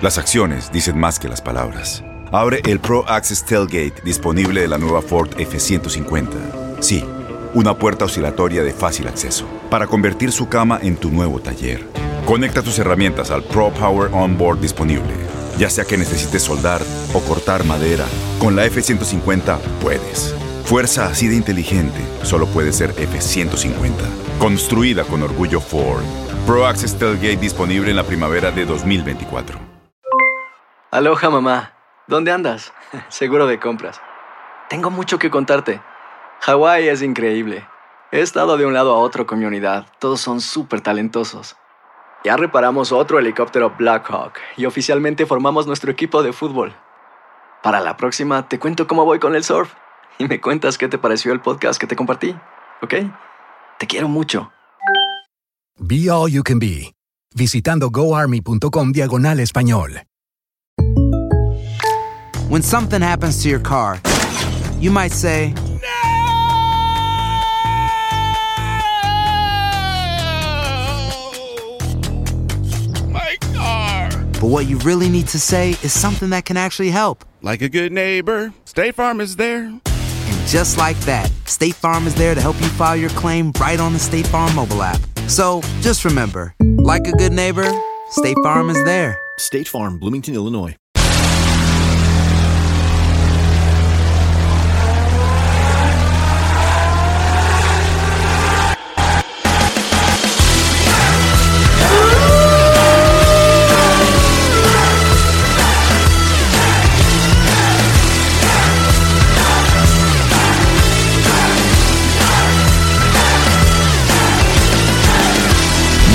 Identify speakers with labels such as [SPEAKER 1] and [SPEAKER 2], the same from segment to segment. [SPEAKER 1] Las acciones dicen más que las palabras. Abre el Pro Access Tailgate disponible de la nueva Ford F-150. Sí, una puerta oscilatoria de fácil acceso para convertir su cama en tu nuevo taller. Conecta tus herramientas al Pro Power Onboard disponible. Ya sea que necesites soldar o cortar madera, con la F-150 puedes. Fuerza así de inteligente solo puede ser F-150. Construida con orgullo Ford. Pro Access Tailgate disponible en la primavera de 2024.
[SPEAKER 2] Aloha mamá, ¿dónde andas? Seguro de compras. Tengo mucho que contarte. Hawái es increíble. He estado de un lado a otro con mi unidad. Todos son súper talentosos. Ya reparamos otro helicóptero Blackhawk y oficialmente formamos nuestro equipo de fútbol. Para la próxima te cuento cómo voy con el surf y me cuentas qué te pareció el podcast que te compartí, ¿ok? Te quiero mucho.
[SPEAKER 3] Be All You Can Be, visitando goarmy.com diagonal español.
[SPEAKER 4] When something happens to your car, you might say,
[SPEAKER 5] My car.
[SPEAKER 4] but what you really need to say is something that can actually help.
[SPEAKER 5] Like a good neighbor, State Farm is there.
[SPEAKER 4] And just like that, State Farm is there to help you file your claim right on the State Farm mobile app. So just remember, like a good neighbor, State Farm is there.
[SPEAKER 6] State Farm, Bloomington, Illinois.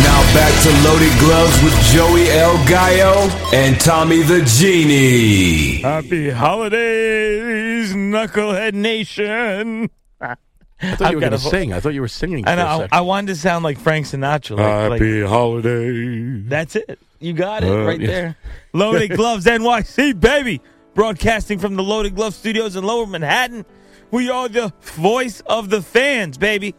[SPEAKER 7] Now back to Loaded Gloves with Joey El Gallo and Tommy the Genie.
[SPEAKER 8] Happy holidays, Knucklehead Nation.
[SPEAKER 9] Ah. I thought
[SPEAKER 8] I've
[SPEAKER 9] you were
[SPEAKER 8] got
[SPEAKER 9] going to
[SPEAKER 8] a vo-
[SPEAKER 9] sing. I thought you were singing.
[SPEAKER 8] I
[SPEAKER 9] for a
[SPEAKER 8] know.
[SPEAKER 9] second.
[SPEAKER 8] I, I wanted to sound like Frank Sinatra. Like, like-
[SPEAKER 7] Happy holidays.
[SPEAKER 8] that's it. You got it
[SPEAKER 7] Uh,
[SPEAKER 8] right
[SPEAKER 7] yeah.
[SPEAKER 8] there. Loaded Gloves NYC, baby. Broadcasting from the Loaded Glove Studios in Lower Manhattan. We are the voice of the fans, baby.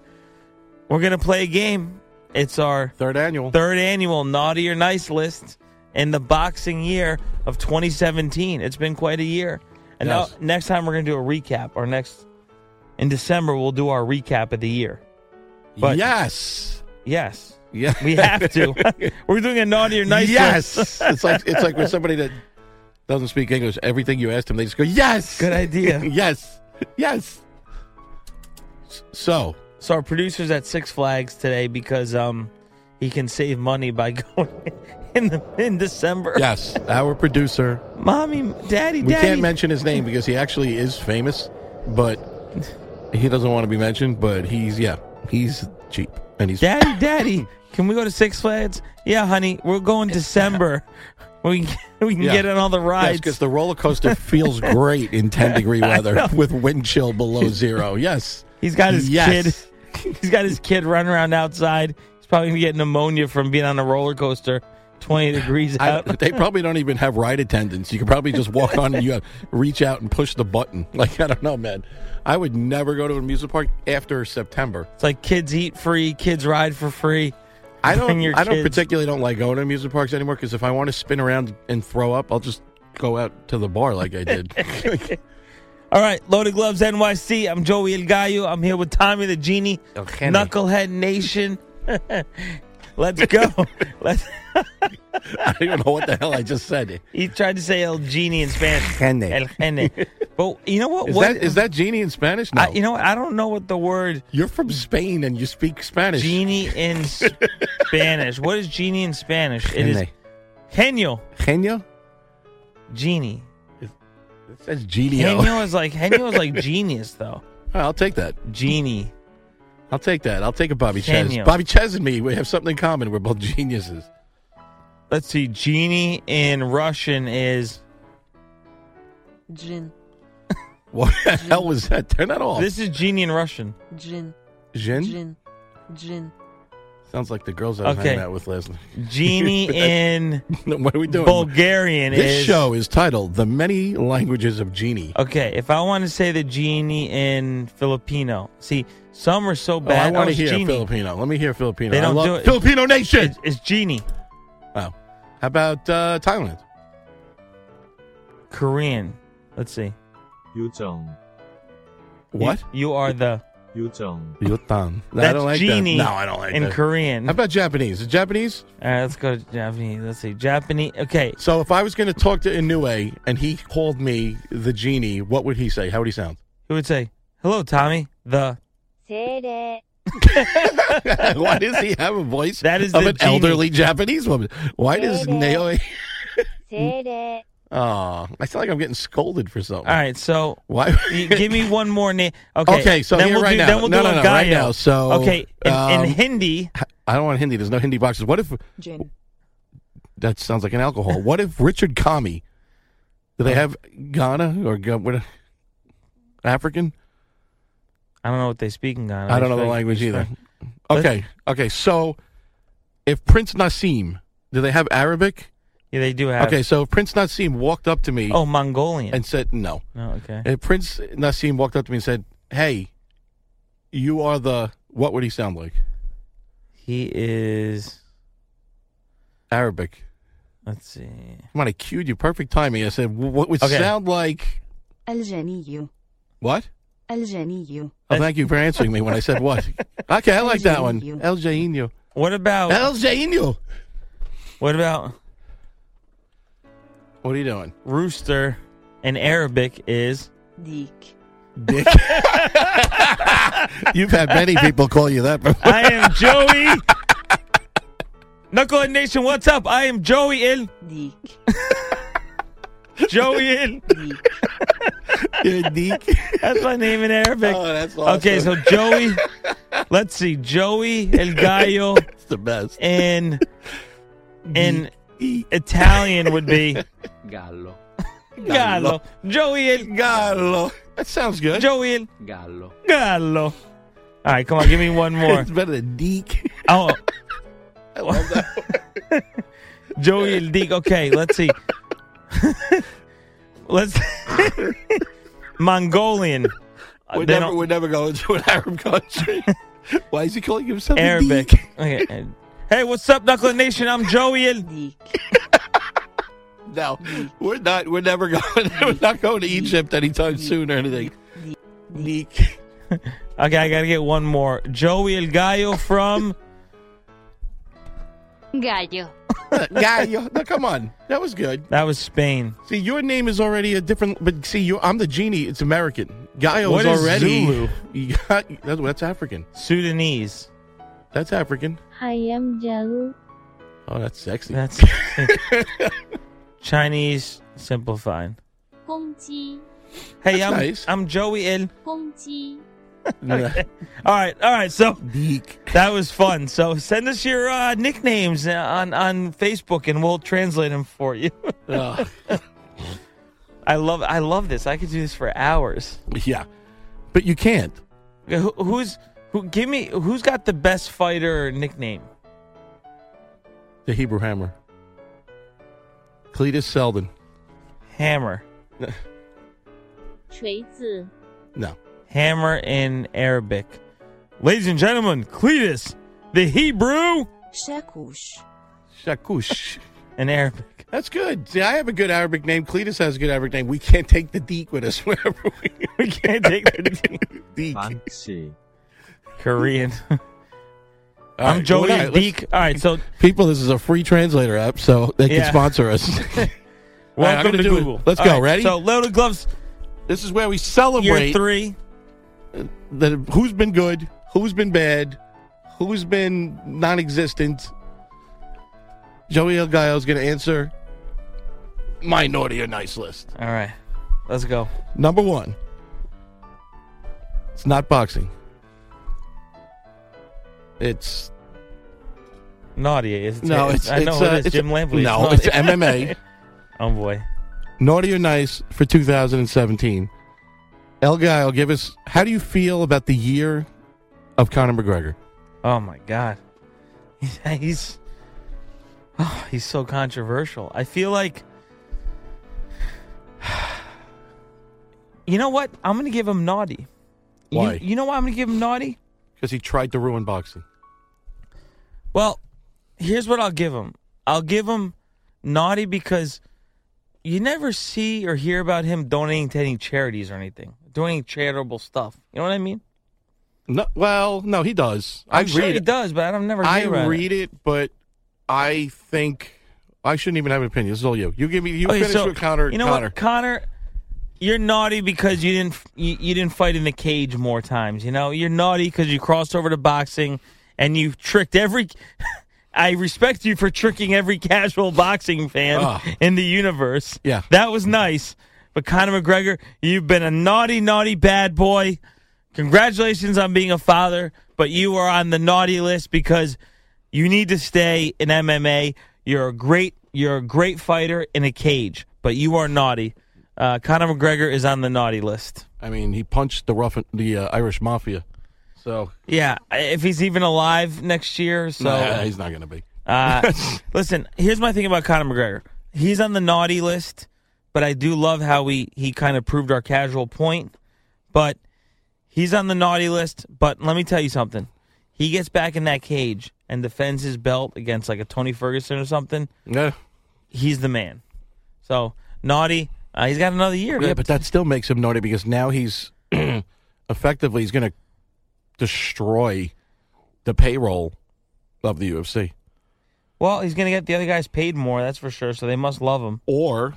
[SPEAKER 8] We're going to play a game. It's our
[SPEAKER 9] Third annual.
[SPEAKER 8] third annual Naughty or Nice list in the boxing year of 2017. It's been quite a year. And
[SPEAKER 9] Yes.
[SPEAKER 8] now, next time we're going to do a recap. Our next in December we'll do our recap of the year. but-
[SPEAKER 9] yes.
[SPEAKER 8] Yes,
[SPEAKER 9] Yeah.
[SPEAKER 8] we have to. we're doing a Naughty or Nice. list.
[SPEAKER 9] yes. it's like it's like when somebody that doesn't speak English, everything you ask them, they just go yes.
[SPEAKER 8] Good idea.
[SPEAKER 9] yes. Yes. S- So
[SPEAKER 8] So our producer's at Six Flags today because um he can save money by going in the in December.
[SPEAKER 9] yes, our producer.
[SPEAKER 8] mommy, daddy,
[SPEAKER 9] We
[SPEAKER 8] daddy.
[SPEAKER 9] can't mention his name because he actually is famous, but he doesn't want to be mentioned. But he's yeah, he's cheap and he's
[SPEAKER 8] Daddy, daddy, can we go to Six Flags? Yeah, honey, we're going December. we can, we can
[SPEAKER 9] Yeah.
[SPEAKER 8] get on all the rides.
[SPEAKER 9] because the roller coaster feels great in 10 degree weather with wind chill below zero. Yes.
[SPEAKER 8] he's got his
[SPEAKER 9] Yes.
[SPEAKER 8] kid. He's got his kid running around outside. He's probably gonna get pneumonia from being on a roller coaster, twenty degrees
[SPEAKER 9] I,
[SPEAKER 8] out.
[SPEAKER 9] they probably don't even have ride attendants. You could probably just walk on and you have, reach out and push the button. Like, I don't know, man. I would never go to an amusement park after September.
[SPEAKER 8] it's like kids eat free, kids ride for free.
[SPEAKER 9] I don't.
[SPEAKER 8] Bring your
[SPEAKER 9] I don't
[SPEAKER 8] kids.
[SPEAKER 9] particularly don't like going to amusement parks anymore because if I want to spin around and throw up, I'll just go out to the bar like I did.
[SPEAKER 8] All right, Loaded Gloves NYC. I'm Joey El Gallo. I'm here with Tommy the Genie,
[SPEAKER 9] El Genie.
[SPEAKER 8] Knucklehead Nation. Let's go. Let's,
[SPEAKER 9] I don't even know what the hell I just said.
[SPEAKER 8] he tried to say El Genie in Spanish.
[SPEAKER 9] Gene.
[SPEAKER 8] El Genie. But you know what?
[SPEAKER 9] Is
[SPEAKER 8] what
[SPEAKER 9] that is that genie in Spanish? No,
[SPEAKER 8] I, you know what? I don't know what the word
[SPEAKER 9] you're from Spain and you speak Spanish.
[SPEAKER 8] genie in Spanish. What is genie in Spanish? It is genio.
[SPEAKER 9] Genio?
[SPEAKER 8] Genie.
[SPEAKER 9] It says genio.
[SPEAKER 8] Genio is like genio is like genius though.
[SPEAKER 9] All right, I'll take that.
[SPEAKER 8] Genie.
[SPEAKER 9] I'll take that. I'll take a Bobby
[SPEAKER 8] Genio.
[SPEAKER 9] Ches. Bobby Ches and me, we have something in common. We're both geniuses.
[SPEAKER 8] Let's see. Genie in Russian is.
[SPEAKER 10] Джин.
[SPEAKER 9] What the hell was that? Turn that off.
[SPEAKER 8] This is Genie in Russian.
[SPEAKER 10] Джин.
[SPEAKER 9] Jin?
[SPEAKER 10] Джин. Джин.
[SPEAKER 9] Sounds like the girls I was
[SPEAKER 8] Okay.
[SPEAKER 9] hanging out with last night.
[SPEAKER 8] Genie in
[SPEAKER 9] what are we doing?
[SPEAKER 8] Bulgarian
[SPEAKER 9] This
[SPEAKER 8] is.
[SPEAKER 9] show is titled "The Many Languages of Genie."
[SPEAKER 8] Okay, if I want to say the genie in Filipino, see, some are so
[SPEAKER 9] Oh, I
[SPEAKER 8] bad.
[SPEAKER 9] want to
[SPEAKER 8] it's
[SPEAKER 9] hear
[SPEAKER 8] genie.
[SPEAKER 9] Filipino. Let me hear Filipino.
[SPEAKER 8] They
[SPEAKER 9] I
[SPEAKER 8] don't
[SPEAKER 9] love
[SPEAKER 8] do it.
[SPEAKER 9] Filipino Nation.
[SPEAKER 8] It's, it's genie.
[SPEAKER 9] wow. How about uh, Thailand?
[SPEAKER 8] Korean. Let's see.
[SPEAKER 9] What?
[SPEAKER 8] You, you are the.
[SPEAKER 9] Yotan. No, I
[SPEAKER 8] That's
[SPEAKER 9] don't like
[SPEAKER 8] genie.
[SPEAKER 9] that. No, I don't like
[SPEAKER 8] in
[SPEAKER 9] that.
[SPEAKER 8] Korean.
[SPEAKER 9] How about Japanese? Is it Japanese?
[SPEAKER 8] All right, let's go to Japanese. Let's see. Japanese. Okay.
[SPEAKER 9] So if I was going to talk to Inoue and he called me the genie, what would he say? How would he sound?
[SPEAKER 8] Who would say, hello, Tommy? The.
[SPEAKER 10] Сере.
[SPEAKER 9] Why does he have a voice
[SPEAKER 8] That is
[SPEAKER 9] of
[SPEAKER 8] the
[SPEAKER 9] an
[SPEAKER 8] genie.
[SPEAKER 9] elderly Japanese woman? Why does Naomi?
[SPEAKER 10] Сере.
[SPEAKER 9] Oh, I sound like I'm getting scolded for something.
[SPEAKER 8] All right, so.
[SPEAKER 9] Why?
[SPEAKER 8] you- Give me one more name. Okay.
[SPEAKER 9] Okay, so
[SPEAKER 8] then
[SPEAKER 9] here
[SPEAKER 8] we'll
[SPEAKER 9] right
[SPEAKER 8] do,
[SPEAKER 9] now.
[SPEAKER 8] Then we'll
[SPEAKER 9] No,
[SPEAKER 8] do
[SPEAKER 9] no, no,
[SPEAKER 8] Ongayo.
[SPEAKER 9] right now. So,
[SPEAKER 8] okay, in,
[SPEAKER 9] um,
[SPEAKER 8] in Hindi,
[SPEAKER 9] I don't want Hindi. There's no Hindi boxes. What if
[SPEAKER 10] Джин.
[SPEAKER 9] that sounds like an alcohol? What if Richard Kami? Do
[SPEAKER 8] Uh-huh.
[SPEAKER 9] they have Ghana or Ga- what? African?
[SPEAKER 8] I don't know what they speak in Ghana.
[SPEAKER 9] I don't know the
[SPEAKER 8] Respect-
[SPEAKER 9] language either.
[SPEAKER 8] respect. Let's-
[SPEAKER 9] Okay, okay. So, if Prince Nassim, do they have Arabic?
[SPEAKER 8] Yeah, they do have.
[SPEAKER 9] Okay, so if Prince Nassim walked up to me
[SPEAKER 8] Oh, Mongolian.
[SPEAKER 9] and said, "No,"
[SPEAKER 8] no, okay.
[SPEAKER 9] if Prince Nassim walked up to me and said, "Hey, you are the," what would he sound like?
[SPEAKER 8] He is.
[SPEAKER 9] Arabic.
[SPEAKER 8] Let's see.
[SPEAKER 9] Come on, I cued you. Perfect timing. I said, "Wh- what would
[SPEAKER 8] Okay.
[SPEAKER 9] sound like
[SPEAKER 10] Алжанию.
[SPEAKER 9] what?
[SPEAKER 10] Алжанию.
[SPEAKER 9] Oh, thank you for answering me when I said what. Okay, I like that one.
[SPEAKER 10] Jainio.
[SPEAKER 9] El Jainio.
[SPEAKER 8] What about?
[SPEAKER 9] El Jainio.
[SPEAKER 8] What about
[SPEAKER 9] What are you doing?
[SPEAKER 8] rooster in Arabic? Is
[SPEAKER 10] Дик.
[SPEAKER 9] Dick. You've had many people call you that before.
[SPEAKER 8] I am Joey. Knucklehead Nation, what's up? I am Joey in
[SPEAKER 10] Дик.
[SPEAKER 8] Joey in.
[SPEAKER 10] Дик.
[SPEAKER 9] You're a dick.
[SPEAKER 8] That's my name in Arabic.
[SPEAKER 9] Oh, that's awesome.
[SPEAKER 8] Okay, so Joey. let's see, Joey El Gallo
[SPEAKER 9] It's the best.
[SPEAKER 8] in in Italian would be
[SPEAKER 11] Gallo.
[SPEAKER 8] Gallo. Joey El
[SPEAKER 9] Gallo. That sounds good.
[SPEAKER 8] Joey El
[SPEAKER 11] Gallo.
[SPEAKER 8] Gallo. All right, come on, give me one more.
[SPEAKER 9] It's better than Deek.
[SPEAKER 8] Oh. I love that. Joey El Dick. Okay, let's see. let's Mongolian. Uh,
[SPEAKER 9] We're
[SPEAKER 8] they
[SPEAKER 9] never,
[SPEAKER 8] don't-
[SPEAKER 9] we're never going to an Arab country. Why is he calling himself a
[SPEAKER 8] Arabic.
[SPEAKER 9] dick?
[SPEAKER 8] Okay. uh, Hey, what's up, Knuckle Nation? I'm Joey El.
[SPEAKER 10] Дик.
[SPEAKER 9] No, we're not. We're never going. We're not going to Egypt anytime soon or anything. Deek.
[SPEAKER 8] Okay, I gotta get one more. Joey El Gallo from.
[SPEAKER 10] Галю.
[SPEAKER 9] Guy, you- no, come on. That was good.
[SPEAKER 8] That was Spain.
[SPEAKER 9] See, your name is already a different. But see, you, I'm the genie. It's American. Gaio
[SPEAKER 8] What
[SPEAKER 9] is
[SPEAKER 8] is
[SPEAKER 9] already.
[SPEAKER 8] Zulu?
[SPEAKER 9] You got- that's, that's African.
[SPEAKER 8] Sudanese.
[SPEAKER 9] That's African.
[SPEAKER 10] I am Jalu.
[SPEAKER 9] Oh, that's sexy.
[SPEAKER 8] That's Chinese simplified.
[SPEAKER 10] 公鸡。
[SPEAKER 8] Hey,
[SPEAKER 9] That's
[SPEAKER 8] I'm
[SPEAKER 9] nice.
[SPEAKER 8] I'm Joey El.
[SPEAKER 10] 公鸡。
[SPEAKER 8] All right, all right. So
[SPEAKER 9] Deek.
[SPEAKER 8] That was fun. So send us your uh, nicknames on on Facebook, and we'll translate them for you.
[SPEAKER 9] Ugh.
[SPEAKER 8] I love I love this. I could do this for hours.
[SPEAKER 9] yeah, but you can't.
[SPEAKER 8] Who, who's who? Give me who's got the best fighter nickname?
[SPEAKER 9] The Hebrew Hammer. Cletus Selden.
[SPEAKER 8] Hammer.
[SPEAKER 10] 锤子。
[SPEAKER 9] No.
[SPEAKER 8] Hammer in Arabic. Ladies and gentlemen, Cletus, the Hebrew
[SPEAKER 10] Шакуш.
[SPEAKER 9] Shakush.
[SPEAKER 8] in Arabic.
[SPEAKER 9] That's good. See, I have a good Arabic name. Cletus has a good Arabic name. We can't take the deek with us wherever we
[SPEAKER 8] We can't take the
[SPEAKER 9] deek.
[SPEAKER 8] Korean.
[SPEAKER 9] All
[SPEAKER 8] I'm
[SPEAKER 9] right,
[SPEAKER 8] Joey
[SPEAKER 9] well, all right, let's-
[SPEAKER 8] Deek. All right, so
[SPEAKER 9] People, this is a free translator app, so they
[SPEAKER 8] Yeah.
[SPEAKER 9] can sponsor us. All right, I'm
[SPEAKER 8] welcome
[SPEAKER 9] gonna
[SPEAKER 8] to
[SPEAKER 9] do it.
[SPEAKER 8] Google.
[SPEAKER 9] Let's
[SPEAKER 8] All
[SPEAKER 9] go.
[SPEAKER 8] right,
[SPEAKER 9] Ready?
[SPEAKER 8] So, Little Gloves,
[SPEAKER 9] this is where we
[SPEAKER 8] year
[SPEAKER 9] celebrate
[SPEAKER 8] three.
[SPEAKER 9] that who's been good, who's been bad, who's been non-existent. Joey El Gallo is going to answer my naughty or nice list.
[SPEAKER 8] All right, let's go.
[SPEAKER 9] Number one, it's not boxing. It's
[SPEAKER 8] Naughty is.
[SPEAKER 9] No, it's-
[SPEAKER 8] I know
[SPEAKER 9] it's,
[SPEAKER 8] it
[SPEAKER 9] uh,
[SPEAKER 8] is.
[SPEAKER 9] it's-
[SPEAKER 8] Jim Lampley.
[SPEAKER 9] no,
[SPEAKER 8] naughty.
[SPEAKER 9] it's MMA.
[SPEAKER 8] oh boy.
[SPEAKER 9] Naughty or Nice for 2017. El Guile, give us how do you feel about the year of Conor McGregor?
[SPEAKER 8] Oh my god. He's oh, he's so controversial. I feel like You know what? I'm going to give him naughty. You-
[SPEAKER 9] Why?
[SPEAKER 8] You, know why I'm going to give him naughty?
[SPEAKER 9] Because he tried to ruin boxing.
[SPEAKER 8] Well, here's what I'll give him. I'll give him naughty because you never see or hear about him donating to any charities or anything, doing any charitable stuff. You know what I mean?
[SPEAKER 9] No, well, no, he does.
[SPEAKER 8] I'm
[SPEAKER 9] I
[SPEAKER 8] sure
[SPEAKER 9] read
[SPEAKER 8] he
[SPEAKER 9] it.
[SPEAKER 8] does, but I've never.
[SPEAKER 9] I
[SPEAKER 8] hear about
[SPEAKER 9] read it. but I think I shouldn't even have an opinion. This is all you. You give me. You
[SPEAKER 8] Okay,
[SPEAKER 9] finish
[SPEAKER 8] so,
[SPEAKER 9] with Conor.
[SPEAKER 8] You know
[SPEAKER 9] Conor.
[SPEAKER 8] what, Connor? You're naughty because you didn't you, you didn't fight in the cage more times. You know, you're naughty because you crossed over to boxing and you tricked every. I respect you for tricking every casual boxing fan
[SPEAKER 9] Ah.
[SPEAKER 8] in the universe.
[SPEAKER 9] Yeah.
[SPEAKER 8] that was nice. But Conor McGregor, you've been a naughty, naughty bad boy. Congratulations on being a father, but you are on the naughty list because you need to stay in MMA. You're a great, you're a great fighter in a cage, but you are naughty. Uh, Conor McGregor is on the naughty list.
[SPEAKER 9] I mean, he punched the rough the uh, Irish mafia. So
[SPEAKER 8] Yeah, if he's even alive next year, so
[SPEAKER 9] Nah, he's not going to be.
[SPEAKER 8] Uh, listen, here's my thing about Conor McGregor. He's on the naughty list, but I do love how he, he kind of proved our casual point. But he's on the naughty list. But let me tell you something. He gets back in that cage and defends his belt against like a Tony Ferguson or something.
[SPEAKER 9] Yeah.
[SPEAKER 8] He's the man. So, naughty, uh, he's got another year.
[SPEAKER 9] Yeah,
[SPEAKER 8] Yep.
[SPEAKER 9] but that still makes him naughty because now he's effectively he's going to destroy the payroll of the UFC.
[SPEAKER 8] well, he's going to get the other guys paid more, that's for sure. So they must love him.
[SPEAKER 9] Or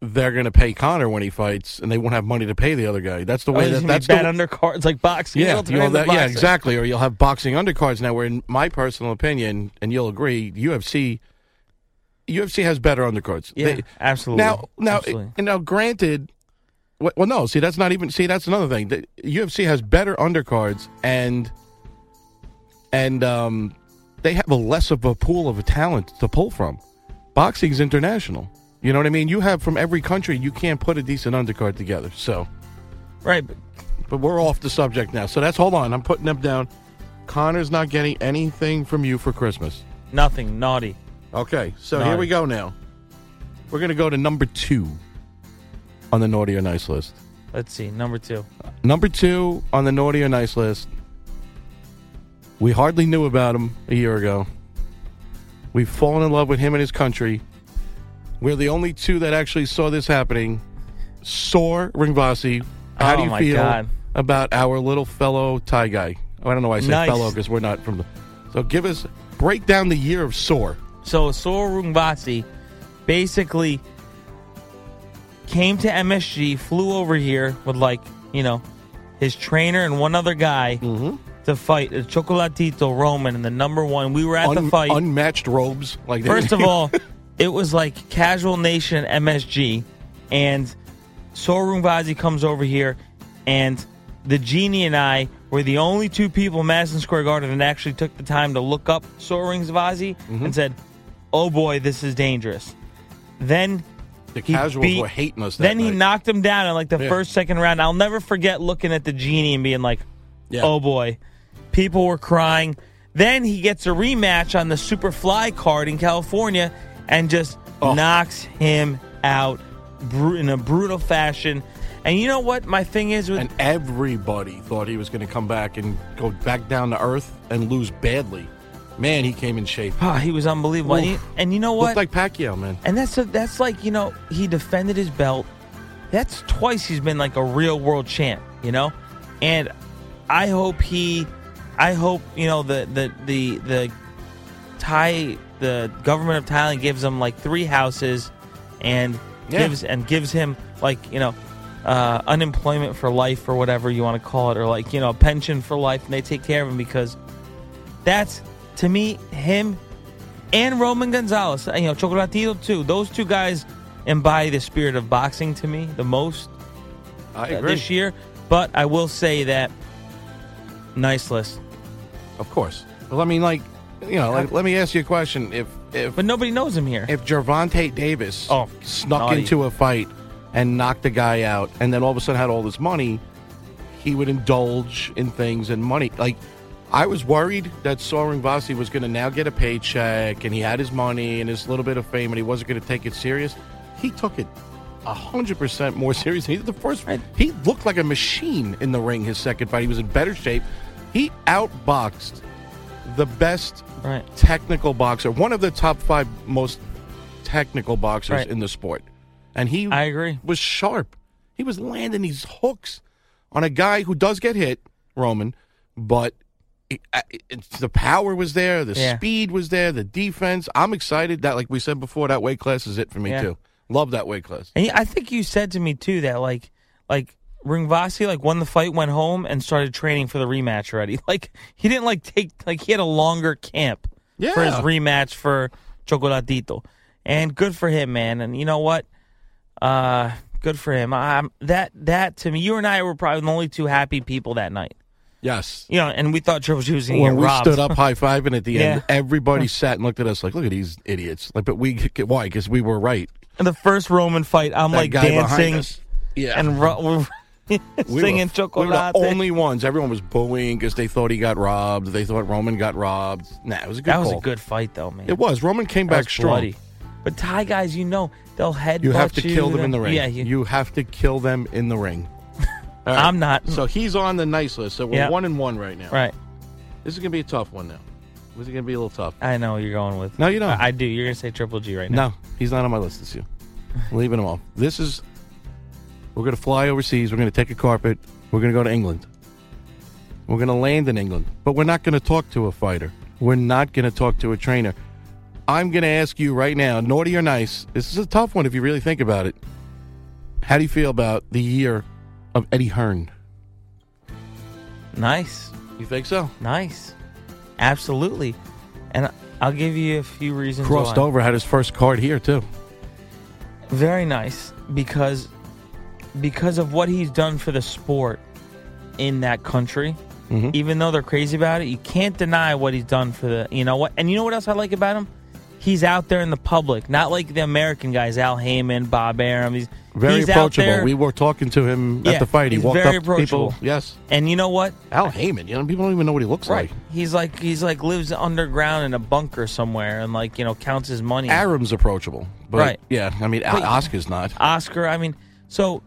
[SPEAKER 9] they're going to pay Connor when he fights, and they won't have money to pay the other guy. That's the
[SPEAKER 8] Oh,
[SPEAKER 9] way that,
[SPEAKER 8] he's gonna be
[SPEAKER 9] that's the,
[SPEAKER 8] bad undercards like boxing.
[SPEAKER 9] yeah,
[SPEAKER 8] He'll
[SPEAKER 9] you'll
[SPEAKER 8] turn into
[SPEAKER 9] have- yeah,
[SPEAKER 8] boxing.
[SPEAKER 9] exactly. Or you'll have boxing undercards now. Where, in my personal opinion, and you'll agree, UFC, UFC has better undercards.
[SPEAKER 8] Yeah,
[SPEAKER 9] They-
[SPEAKER 8] absolutely.
[SPEAKER 9] Now, now,
[SPEAKER 8] Absolutely.
[SPEAKER 9] and now, granted, wh- well, no. See, that's not even. See, that's another thing. The UFC has better undercards, and and um, they have a less of a pool of talent to pull from. Boxing's international. You know what I mean? You have from every country. You can't put a decent undercard together. So.
[SPEAKER 8] Right, but
[SPEAKER 9] But we're off the subject now. So that's hold on. I'm putting them down. Connor's not getting anything from you for Christmas.
[SPEAKER 8] nothing naughty.
[SPEAKER 9] Okay, so
[SPEAKER 8] Naughty.
[SPEAKER 9] here we go now. We're going to go to number two on the naughty or nice list.
[SPEAKER 8] Let's see, number two.
[SPEAKER 9] Number two on the naughty or nice list. We hardly knew about him a year ago. We've fallen in love with him and his country. We're the only two that actually saw this happening. Sor Ringvasi, how do
[SPEAKER 8] Oh,
[SPEAKER 9] you
[SPEAKER 8] my
[SPEAKER 9] feel
[SPEAKER 8] God.
[SPEAKER 9] about our little fellow Thai guy? Oh, I don't know why I say
[SPEAKER 8] Nice.
[SPEAKER 9] fellow because we're not from the. So give us break down the year of Sor.
[SPEAKER 8] So Sora Rungbasi basically came to MSG, flew over here with like, you know, his trainer and one other guy to fight uh, Chocolatito Roman and the number one. We were at the
[SPEAKER 9] Un-
[SPEAKER 8] fight.
[SPEAKER 9] unmatched robes. Like
[SPEAKER 8] First of all, it was like Casual Nation MSG, and Sorung Vazi comes over here, and the genie and I were the only two people in Madison Square Garden that actually took the time to look up Sorung Vazi and said, "Oh boy, this is dangerous." Then
[SPEAKER 9] the
[SPEAKER 8] he
[SPEAKER 9] casuals
[SPEAKER 8] beat-
[SPEAKER 9] were hating us. That
[SPEAKER 8] Then he
[SPEAKER 9] night.
[SPEAKER 8] knocked him down in like the
[SPEAKER 9] Yeah.
[SPEAKER 8] first second round. I'll never forget looking at the genie and being like,
[SPEAKER 9] Yeah.
[SPEAKER 8] "Oh boy," people were crying. Then he gets a rematch on the Superfly card in California and just
[SPEAKER 9] Oh.
[SPEAKER 8] knocks him out bru- in a brutal fashion. And you know what? My thing is with
[SPEAKER 9] and everybody thought he was going to come back and go back down to earth and lose badly. Man, he came in shape.
[SPEAKER 8] Ah, he was unbelievable. And
[SPEAKER 9] Oof.
[SPEAKER 8] you, and you know what?
[SPEAKER 9] Looked like Pacquiao, man.
[SPEAKER 8] And that's a, that's like you know he defended his belt. That's twice he's been like a real world champ, you know. And I hope he, I hope you know the the the the Thai the government of Thailand gives him like three houses, and
[SPEAKER 9] Yeah.
[SPEAKER 8] gives and gives him like you know uh, unemployment for life or whatever you want to call it, or like you know a pension for life, and they take care of him because that's to me him and Roman Gonzalez, you know, Chocolatito too. Those two guys embody the spirit of boxing to me the most
[SPEAKER 9] I
[SPEAKER 8] uh,
[SPEAKER 9] agree.
[SPEAKER 8] this year. But I will say that nice list.
[SPEAKER 9] Of course. Well, I mean, like, you know, like, let me ask you a question. If if
[SPEAKER 8] but nobody knows him here.
[SPEAKER 9] If Gervonta Davis
[SPEAKER 8] Oh,
[SPEAKER 9] snuck
[SPEAKER 8] naughty.
[SPEAKER 9] into a fight and knocked a guy out, and then all of a sudden had all this money, he would indulge in things and money. Like I was worried that Soren Vasi was going to now get a paycheck, and he had his money and his little bit of fame, and he wasn't going to take it serious. He took it. a 100% more serious. He the first he looked like a machine in the ring his second fight. He was in better shape. He outboxed the best technical boxer, one of the top five most technical boxers
[SPEAKER 8] Right.
[SPEAKER 9] in the sport. And he I agree. was sharp. He was landing these hooks on a guy who does get hit, Roman, but it, I- it, the power was there, the
[SPEAKER 8] Yeah.
[SPEAKER 9] speed was there, the defense. I'm excited that like we said before that weight class is it for me
[SPEAKER 8] Yeah.
[SPEAKER 9] too. Love that weight class.
[SPEAKER 8] And I think you said to me too that like like Ringvasi like won the fight, went home, and started training for the rematch already. Like he didn't like take like he had a longer camp for his
[SPEAKER 9] Yeah.
[SPEAKER 8] rematch for Chocolatito, and good for him, man. And you know what? Uh, good for him. Um, that that to me, you and I were probably the only two happy people that night.
[SPEAKER 9] Yes.
[SPEAKER 8] You know, and we thought Triple G was going to
[SPEAKER 9] When
[SPEAKER 8] get
[SPEAKER 9] we
[SPEAKER 8] robbed.
[SPEAKER 9] stood up high fiving at the end,
[SPEAKER 8] Yeah.
[SPEAKER 9] everybody sat and looked at us like, "Look at these idiots!" Like, but we why? Because we were right.
[SPEAKER 8] in the first Roman fight, I'm
[SPEAKER 9] That
[SPEAKER 8] like
[SPEAKER 9] guy behind
[SPEAKER 8] dancing,
[SPEAKER 9] us. yeah,
[SPEAKER 8] and ro- singing
[SPEAKER 9] were, we were the
[SPEAKER 8] Chocolate.
[SPEAKER 9] only ones. Everyone was booing because they thought he got robbed. They thought Roman got robbed. Nah, it was a good.
[SPEAKER 8] That was a
[SPEAKER 9] call.
[SPEAKER 8] good fight, though, man.
[SPEAKER 9] It was. Roman came
[SPEAKER 8] That
[SPEAKER 9] back
[SPEAKER 8] was
[SPEAKER 9] strong.
[SPEAKER 8] bloody. But Thai guys, you know, they'll headbutt
[SPEAKER 9] You have to kill them in the
[SPEAKER 8] they'll-
[SPEAKER 9] ring.
[SPEAKER 8] Yeah,
[SPEAKER 9] you,
[SPEAKER 8] you,
[SPEAKER 9] have to kill them in the ring. All right.
[SPEAKER 8] I'm not.
[SPEAKER 9] So he's on the nice list. So we're
[SPEAKER 8] Yeah.
[SPEAKER 9] one and one right now.
[SPEAKER 8] Right.
[SPEAKER 9] This is gonna be a tough one now. This is gonna be a little tough.
[SPEAKER 8] I know you're going with.
[SPEAKER 9] No, you don't.
[SPEAKER 8] I, I do. You're going to say Triple G right now.
[SPEAKER 9] No, he's not on my list this year. I'm leaving him off. This is. We're going to fly overseas. We're going to take a carpet. We're going to go to England. We're going to land in England, but we're not going to talk to a fighter. We're not going to talk to a trainer. I'm going to ask you right now, naughty or nice. This is a tough one if you really think about it. How do you feel about the year of Eddie Hearn?
[SPEAKER 8] Nice.
[SPEAKER 9] You think so?
[SPEAKER 8] Nice. Absolutely. And I'll give you a few reasons.
[SPEAKER 9] Crossed
[SPEAKER 8] why.
[SPEAKER 9] over, had his first card here too.
[SPEAKER 8] very nice because because of what he's done for the sport in that country
[SPEAKER 9] Mhm.
[SPEAKER 8] even though they're crazy about it you can't deny what he's done for the you know what and you know what else i like about him he's out there in the public not like the american guys al Heyman, bob aram he's
[SPEAKER 9] Very
[SPEAKER 8] he's out
[SPEAKER 9] approachable.
[SPEAKER 8] there-
[SPEAKER 9] We were talking to him
[SPEAKER 8] Yeah,
[SPEAKER 9] at the fight. He
[SPEAKER 8] he's
[SPEAKER 9] walked
[SPEAKER 8] very
[SPEAKER 9] up to people.
[SPEAKER 8] approachable.
[SPEAKER 9] Yes.
[SPEAKER 8] and you know what
[SPEAKER 9] Al Heyman. You know, people don't even know what he looks
[SPEAKER 8] right
[SPEAKER 9] like.
[SPEAKER 8] he's like he's like lives underground in a bunker somewhere and like you know counts his money
[SPEAKER 9] Aram's approachable, but
[SPEAKER 8] Right. Uh,
[SPEAKER 9] Yeah, I mean,
[SPEAKER 8] But-
[SPEAKER 9] Oscar's not.
[SPEAKER 8] Oscar. I mean, so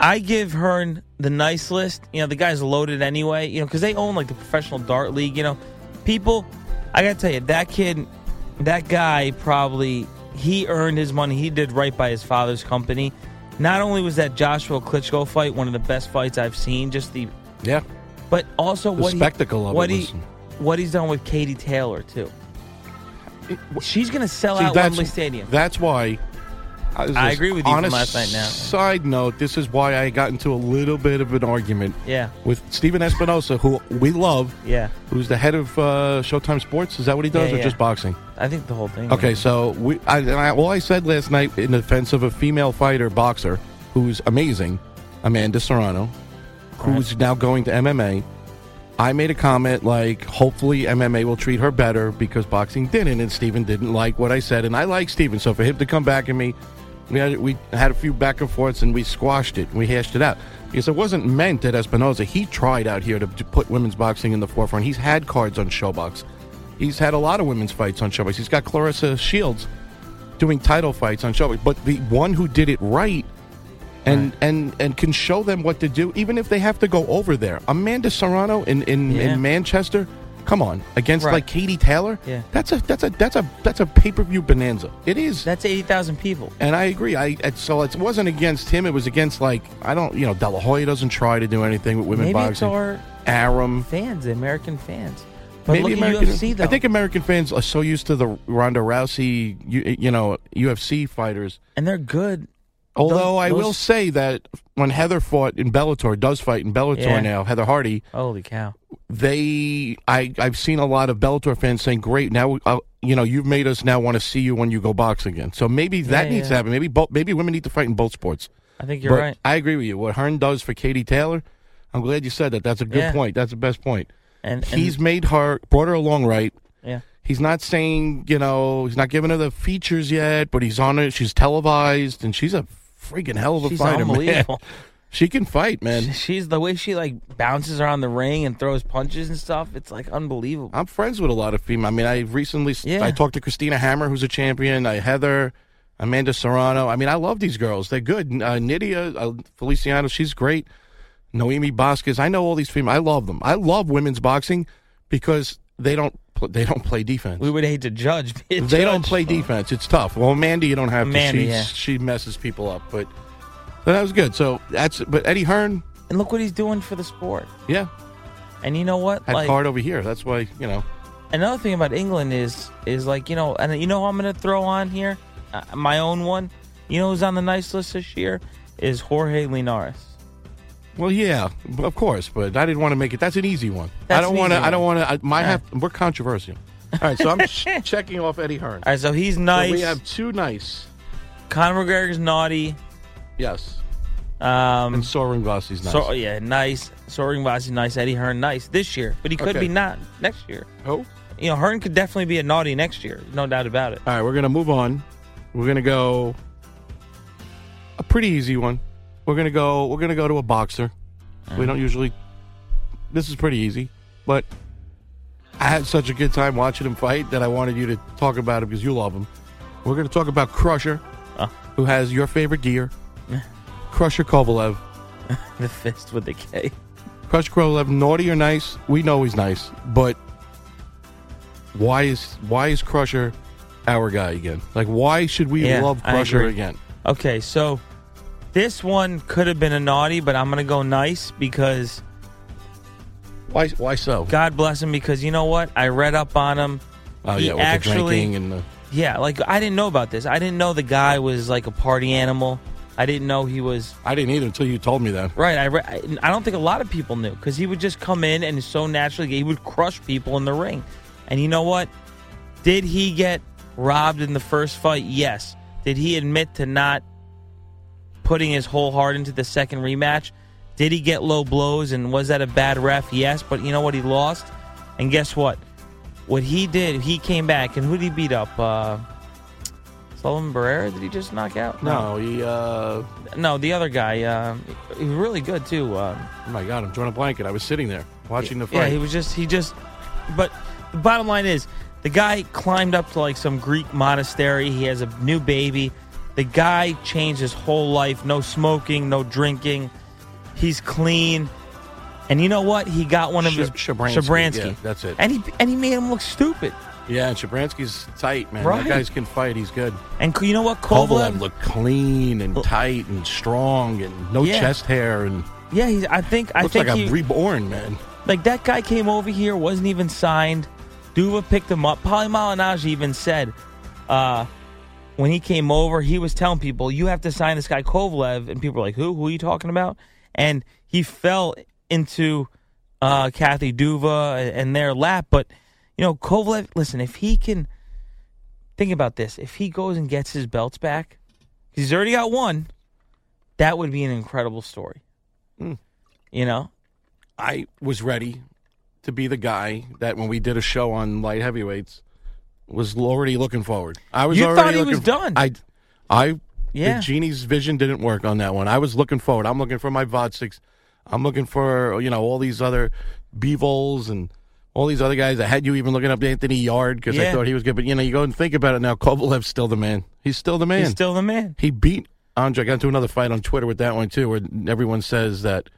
[SPEAKER 8] I give Hearn the nice list. You know, the guy's loaded anyway. You know, because they own like the professional dart league. You know, people. I gotta tell you, that kid, that guy, probably he earned his money. He did right by his father's company. Not only was that Joshua Klitschko fight one of the best fights I've seen, just the
[SPEAKER 9] Yeah,
[SPEAKER 8] but also
[SPEAKER 9] The
[SPEAKER 8] what
[SPEAKER 9] spectacle
[SPEAKER 8] he,
[SPEAKER 9] of it
[SPEAKER 8] what
[SPEAKER 9] was-
[SPEAKER 8] he what he's done with Katie Taylor too. She's gonna sell out Wembley Stadium.
[SPEAKER 9] That's why. I, this
[SPEAKER 8] I
[SPEAKER 9] is-
[SPEAKER 8] agree with you
[SPEAKER 9] on
[SPEAKER 8] from
[SPEAKER 9] a
[SPEAKER 8] last night now.
[SPEAKER 9] Side note: This is why I got into a little bit of an argument.
[SPEAKER 8] Yeah.
[SPEAKER 9] With Steven Espinosa, who we love.
[SPEAKER 8] Yeah.
[SPEAKER 9] Who's the head of uh, Showtime Sports? Is that what he does,
[SPEAKER 8] Yeah,
[SPEAKER 9] or
[SPEAKER 8] yeah. Mm-hmm.
[SPEAKER 9] just boxing?
[SPEAKER 8] I think the whole thing.
[SPEAKER 9] Okay, so we I, and I, all I said last night in defense of a female fighter boxer who's amazing, Amanda Serrano, who's now going to MMA. I made a comment like, hopefully MMA will treat her better because boxing didn't, and Steven didn't like what I said, and I like Steven, so for him to come back at me, we had, we had a few back and forths, and we squashed it, we hashed it out because it wasn't meant at Espinoza. He tried out here to, to put women's boxing in the forefront. He's had cards on Showbox. He's had a lot of women's fights on Showbox. He's got Clarissa Shields doing title fights on Showbox. But the one who did it right and and and can show them what to do, even if they have to go over there. Amanda Serrano in in,
[SPEAKER 8] Yeah.
[SPEAKER 9] in Manchester, come on, against
[SPEAKER 8] Right.
[SPEAKER 9] like Katie Taylor.
[SPEAKER 8] Yeah.
[SPEAKER 9] that's a that's a that's a that's a pay per view bonanza. It is.
[SPEAKER 8] That's eighty thousand people.
[SPEAKER 9] And I agree. I it- so it wasn't against him. It was against like I don't you know De La Hoya doesn't try to do anything with women
[SPEAKER 8] Maybe it's
[SPEAKER 9] boxing.
[SPEAKER 8] our
[SPEAKER 9] Aram.
[SPEAKER 8] fans, the American fans. But
[SPEAKER 9] Maybe
[SPEAKER 8] look
[SPEAKER 9] American.
[SPEAKER 8] at UFC though.
[SPEAKER 9] I think American fans are so used to the Ronda Rousey, you, you know, UFC fighters.
[SPEAKER 8] and they're good.
[SPEAKER 9] Although I
[SPEAKER 8] Those-
[SPEAKER 9] will say that when Heather fought in Bellator, does fight in Bellator
[SPEAKER 8] Yeah.
[SPEAKER 9] now, Heather Hardy,
[SPEAKER 8] Holy cow!
[SPEAKER 9] they I I've seen a lot of Bellator fans saying, "Great, now uh, you know you've made us now want to see you when you go box again." So maybe that
[SPEAKER 8] Yeah,
[SPEAKER 9] needs to
[SPEAKER 8] yeah.
[SPEAKER 9] happen. Maybe both maybe women need to fight in both sports.
[SPEAKER 8] I think you're
[SPEAKER 9] But
[SPEAKER 8] right.
[SPEAKER 9] I agree with you. What Hearn does for Katie Taylor, I'm glad you said that. That's a good
[SPEAKER 8] Yeah.
[SPEAKER 9] point. That's the best point.
[SPEAKER 8] And, and
[SPEAKER 9] He's made her brought her along right.
[SPEAKER 8] Yeah.
[SPEAKER 9] He's not saying, you know, he's not giving her the features yet, but he's on it. She's televised, and she's a freaking hell of a
[SPEAKER 8] She's
[SPEAKER 9] fighter, man.
[SPEAKER 8] unbelievable.
[SPEAKER 9] She can fight, man.
[SPEAKER 8] She's the way she like bounces around the ring and throws punches and stuff. It's like unbelievable.
[SPEAKER 9] I'm friends with a lot of female. I mean, I recently I talked to Christina Hammer, who's a champion. I Heather, Amanda Serrano. I mean, I love these girls. They're good. Uh, Nydia uh, Feliciano, she's great. Noemi Vasquez. I know all these female. I love them. I love women's boxing because they don't pl- they don't play defense.
[SPEAKER 8] We would hate to judge.
[SPEAKER 9] they don't play defense. It's tough. Well, Mandy, you don't have
[SPEAKER 8] Amanda,
[SPEAKER 9] to. She,
[SPEAKER 8] yeah.
[SPEAKER 9] she messes people up, but so that was good. So that's but Eddie Hearn,
[SPEAKER 8] And look what he's doing for the sport.
[SPEAKER 9] yeah,
[SPEAKER 8] And you know what?
[SPEAKER 9] had card over here. That's why you know.
[SPEAKER 8] another thing about England is is like you know, and you know who I'm going to throw on here, uh, my own one. You know who's on the nice list this year is Jorge Linares.
[SPEAKER 9] Well, yeah, b- of course, but I didn't want to make it. That's an easy one. I
[SPEAKER 8] That's
[SPEAKER 9] don't
[SPEAKER 8] an
[SPEAKER 9] want to.
[SPEAKER 8] easy
[SPEAKER 9] I don't
[SPEAKER 8] one.
[SPEAKER 9] want to. My
[SPEAKER 8] All
[SPEAKER 9] have. We're controversial. All right, so I'm ch- checking off Eddie Hearn.
[SPEAKER 8] All right, so he's nice.
[SPEAKER 9] we have two nice.
[SPEAKER 8] Conor McGregor's naughty.
[SPEAKER 9] Yes.
[SPEAKER 8] Um,
[SPEAKER 9] and Soren Gossi's nice.
[SPEAKER 8] So uh, yeah, nice. Soaring Vasi's nice. Eddie Hearn nice this year, but he could
[SPEAKER 9] Okay.
[SPEAKER 8] be not next year.
[SPEAKER 9] Who?
[SPEAKER 8] You know, Hearn could definitely be a naughty next year, no doubt about it.
[SPEAKER 9] All right, we're gonna move on. We're gonna go a pretty easy one. We're gonna go. We're gonna go to a boxer. We don't usually. This is pretty easy, but I had such a good time watching him fight that I wanted you to talk about him because you love him. We're gonna talk about Crusher, who has your favorite gear, Crusher Kovalev.
[SPEAKER 8] the fist with the K.
[SPEAKER 9] Crusher Kovalev, naughty or nice? We know he's nice, but why is why is Crusher our guy again? Like, why should we
[SPEAKER 8] Yeah,
[SPEAKER 9] love
[SPEAKER 8] I
[SPEAKER 9] Crusher
[SPEAKER 8] agree.
[SPEAKER 9] again?
[SPEAKER 8] Okay, so this one could have been a naughty, but I'm gonna go nice because
[SPEAKER 9] why? Why so?
[SPEAKER 8] God bless him because you know what? I read up on him.
[SPEAKER 9] Oh
[SPEAKER 8] He
[SPEAKER 9] yeah, with the drinking and the
[SPEAKER 8] Yeah, like I didn't know about this. I didn't know the guy was like a party animal. I didn't know he was.
[SPEAKER 9] I didn't either until you told me that.
[SPEAKER 8] Right. I re- I I don't think a lot of people knew because he would just come in and so naturally he would crush people in the ring. And you know what? Did he get robbed in the first fight? Yes. Did he admit to not putting his whole heart into the second rematch? Did he get low blows and was that a bad ref? Yes, but you know what? He lost. And guess what? What he did, he came back and who did he beat up? Uh, Sullivan Barrera? Did he just knock out?
[SPEAKER 9] No, he. uh
[SPEAKER 8] No, the other guy. Uh, he was really good too. Um,
[SPEAKER 9] oh my God, I'm drawing a blanket. I was sitting there watching the fight.
[SPEAKER 8] yeah, he was just he just. But the bottom line is, the guy climbed up to like some Greek monastery. He has a new baby. The guy changed his whole life. No smoking, no drinking. He's clean. And you know what? He got one of
[SPEAKER 9] Sh-
[SPEAKER 8] his
[SPEAKER 9] Shabransky, yeah, that's it.
[SPEAKER 8] And he and he made him look stupid.
[SPEAKER 9] Yeah, and Shabransky's tight, man.
[SPEAKER 8] Right.
[SPEAKER 9] That guy's can fight. He's good.
[SPEAKER 8] And you know what?
[SPEAKER 9] Kovalev
[SPEAKER 8] Kovalev
[SPEAKER 9] looked clean and tight and strong and no
[SPEAKER 8] Yeah.
[SPEAKER 9] chest hair and
[SPEAKER 8] Yeah, he's, I think I
[SPEAKER 9] looks
[SPEAKER 8] think
[SPEAKER 9] like
[SPEAKER 8] he,
[SPEAKER 9] a reborn man.
[SPEAKER 8] Like that guy came over here, wasn't even signed. Duva picked him up. Polly Malignaggi even said, uh, when he came over, he was telling people, "You have to sign this guy Kovalev," and people were like, "Who? Who are you talking about?" And he fell into uh, Kathy Duva and their lap. But you know, Kovalev. Listen, if he can think about this, if he goes and gets his belts back, he's already got one. That would be an incredible story.
[SPEAKER 9] Hmm.
[SPEAKER 8] You know,
[SPEAKER 9] I was ready to be the guy that when we did a show on light heavyweights was already looking forward. I was
[SPEAKER 8] You
[SPEAKER 9] already
[SPEAKER 8] thought he
[SPEAKER 9] looking
[SPEAKER 8] was done.
[SPEAKER 9] I I
[SPEAKER 8] Yeah.
[SPEAKER 9] the genie's vision didn't work on that one. I was looking forward. I'm looking for my Vodsticks. I'm looking for you know all these other Bevols and all these other guys. I had you even looking up Anthony Yard because I
[SPEAKER 8] Yeah.
[SPEAKER 9] thought he was good. But you know you go and think about it now. Kovalev's still the man. He's still the man.
[SPEAKER 8] he's still the man.
[SPEAKER 9] He beat Andre. I got into another fight on Twitter with that one too, where everyone says that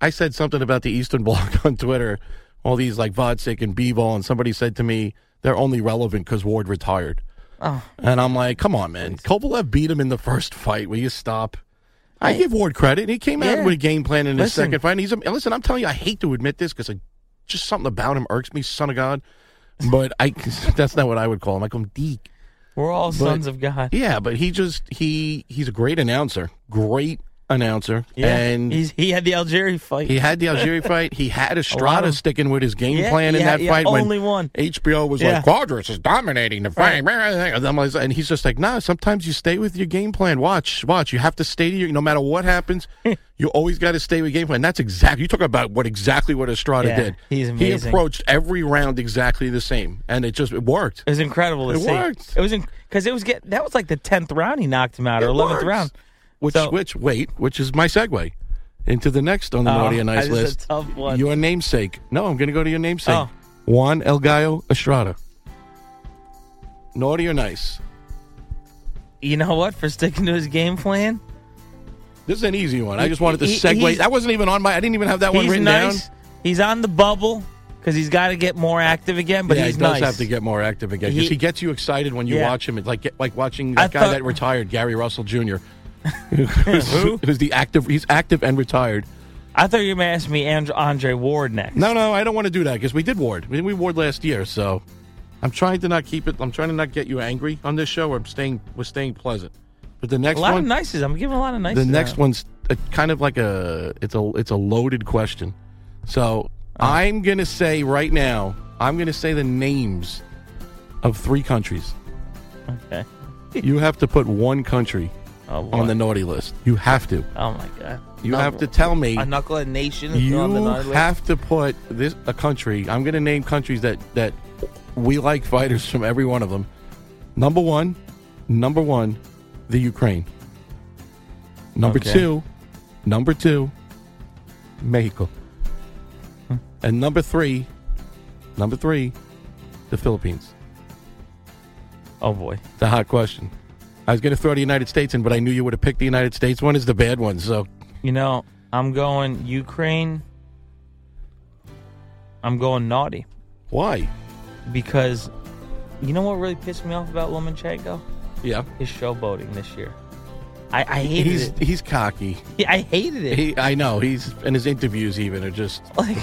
[SPEAKER 9] I said something about the Eastern Bloc on Twitter. All these like Vodsik and Bivol, and somebody said to me they're only relevant because Ward retired.
[SPEAKER 8] Oh.
[SPEAKER 9] And I'm like, come on, man. Kovalev beat him in the first fight. Will you stop? I give Ward credit. He came out
[SPEAKER 8] Yeah.
[SPEAKER 9] with a game plan in his
[SPEAKER 8] Listen.
[SPEAKER 9] second fight. And he's a, and listen, I'm telling you, I hate to admit this because just something about him irks me, son of God. But I, that's not what I would call him. I call him Deke.
[SPEAKER 8] We're all
[SPEAKER 9] But-
[SPEAKER 8] sons of God.
[SPEAKER 9] Yeah, but he just he he's a great announcer, great announcer.
[SPEAKER 8] Yeah,
[SPEAKER 9] And
[SPEAKER 8] he's, he had the Algeria fight.
[SPEAKER 9] He had the Algeria fight. He had Estrada sticking with his game
[SPEAKER 8] Yeah,
[SPEAKER 9] plan
[SPEAKER 8] he
[SPEAKER 9] in
[SPEAKER 8] had-
[SPEAKER 9] that
[SPEAKER 8] yeah,
[SPEAKER 9] fight. when
[SPEAKER 8] only one.
[SPEAKER 9] HBO was
[SPEAKER 8] Yeah.
[SPEAKER 9] like, Quadras is dominating the fight. And I'm like- And he's just like, nah, sometimes you stay with your game plan. Watch, watch. You have to stay to your, no matter what happens, you always got to stay with game plan. That's exactly, you talk about what exactly what Estrada
[SPEAKER 8] Yeah,
[SPEAKER 9] did.
[SPEAKER 8] he's
[SPEAKER 9] He
[SPEAKER 8] amazing.
[SPEAKER 9] approached every round exactly the same. And it just, it worked.
[SPEAKER 8] It was incredible to
[SPEAKER 9] It
[SPEAKER 8] see.
[SPEAKER 9] worked.
[SPEAKER 8] It was because it was get that was like the tenth round he knocked him out or
[SPEAKER 9] It
[SPEAKER 8] eleventh
[SPEAKER 9] works.
[SPEAKER 8] round.
[SPEAKER 9] Which, which, wait, which is my segue into the next on the
[SPEAKER 8] Oh,
[SPEAKER 9] Naughty and
[SPEAKER 8] that
[SPEAKER 9] Nice
[SPEAKER 8] is a
[SPEAKER 9] list.
[SPEAKER 8] tough one.
[SPEAKER 9] Your namesake. No, I'm going to go to your namesake.
[SPEAKER 8] Oh.
[SPEAKER 9] Juan El Gallo Estrada. Naughty or nice?
[SPEAKER 8] You know what? For sticking to his game plan,
[SPEAKER 9] This is an easy one. I
[SPEAKER 8] He-
[SPEAKER 9] just wanted to
[SPEAKER 8] he-
[SPEAKER 9] segue.
[SPEAKER 8] he's-
[SPEAKER 9] That wasn't even on my. I didn't even have that one
[SPEAKER 8] he's
[SPEAKER 9] written
[SPEAKER 8] nice.
[SPEAKER 9] down.
[SPEAKER 8] He's on the bubble because he's got to get more active again. But
[SPEAKER 9] yeah,
[SPEAKER 8] he's
[SPEAKER 9] he does
[SPEAKER 8] nice.
[SPEAKER 9] have to get more active again 'cause
[SPEAKER 8] He-
[SPEAKER 9] he gets you excited when you
[SPEAKER 8] Yeah.
[SPEAKER 9] watch him. It's like like watching
[SPEAKER 8] I
[SPEAKER 9] that guy
[SPEAKER 8] thought-
[SPEAKER 9] that retired, Gary Russell Jr. who's, who's the active? He's active and retired.
[SPEAKER 8] I thought you were going to ask me Andre, Andre Ward next.
[SPEAKER 9] No, no, I don't want to do that because we did Ward. We, we Ward last year, so I'm trying to not keep it. I'm trying to not get you angry on this show. I'm staying. We're staying pleasant. But the next
[SPEAKER 8] a lot
[SPEAKER 9] one,
[SPEAKER 8] of nices. I'm giving a lot of nices.
[SPEAKER 9] the next
[SPEAKER 8] out.
[SPEAKER 9] one's a, kind of like a it's a it's a loaded question. So
[SPEAKER 8] Uh-huh.
[SPEAKER 9] I'm gonna say right now, I'm gonna say the names of three countries.
[SPEAKER 8] Okay.
[SPEAKER 9] You have to put one country
[SPEAKER 8] Oh, boy.
[SPEAKER 9] on the naughty list. You have to.
[SPEAKER 8] Oh my god.
[SPEAKER 9] You have to tell me.
[SPEAKER 8] a knucklehead nation.
[SPEAKER 9] You
[SPEAKER 8] on the naughty list?
[SPEAKER 9] have to put this a country. I'm going to name countries that that we like fighters from every one of them. Number one, number one, the Ukraine. Number
[SPEAKER 8] Okay.
[SPEAKER 9] two, number two, Mexico,
[SPEAKER 8] Hmm.
[SPEAKER 9] and number three, number three, the Philippines.
[SPEAKER 8] Oh boy.
[SPEAKER 9] It's a hot question. I was going to throw the United States in, but I knew you would have picked the United States one. Is the bad one, so
[SPEAKER 8] You know, I'm going Ukraine. I'm going naughty
[SPEAKER 9] why?
[SPEAKER 8] because you know what really pissed me off about Lomachenko?
[SPEAKER 9] Yeah,
[SPEAKER 8] His showboating this year. I, I hated
[SPEAKER 9] he's
[SPEAKER 8] it.
[SPEAKER 9] he's cocky.
[SPEAKER 8] Yeah, I hated it.
[SPEAKER 9] He, I know he's and his interviews even are just
[SPEAKER 8] like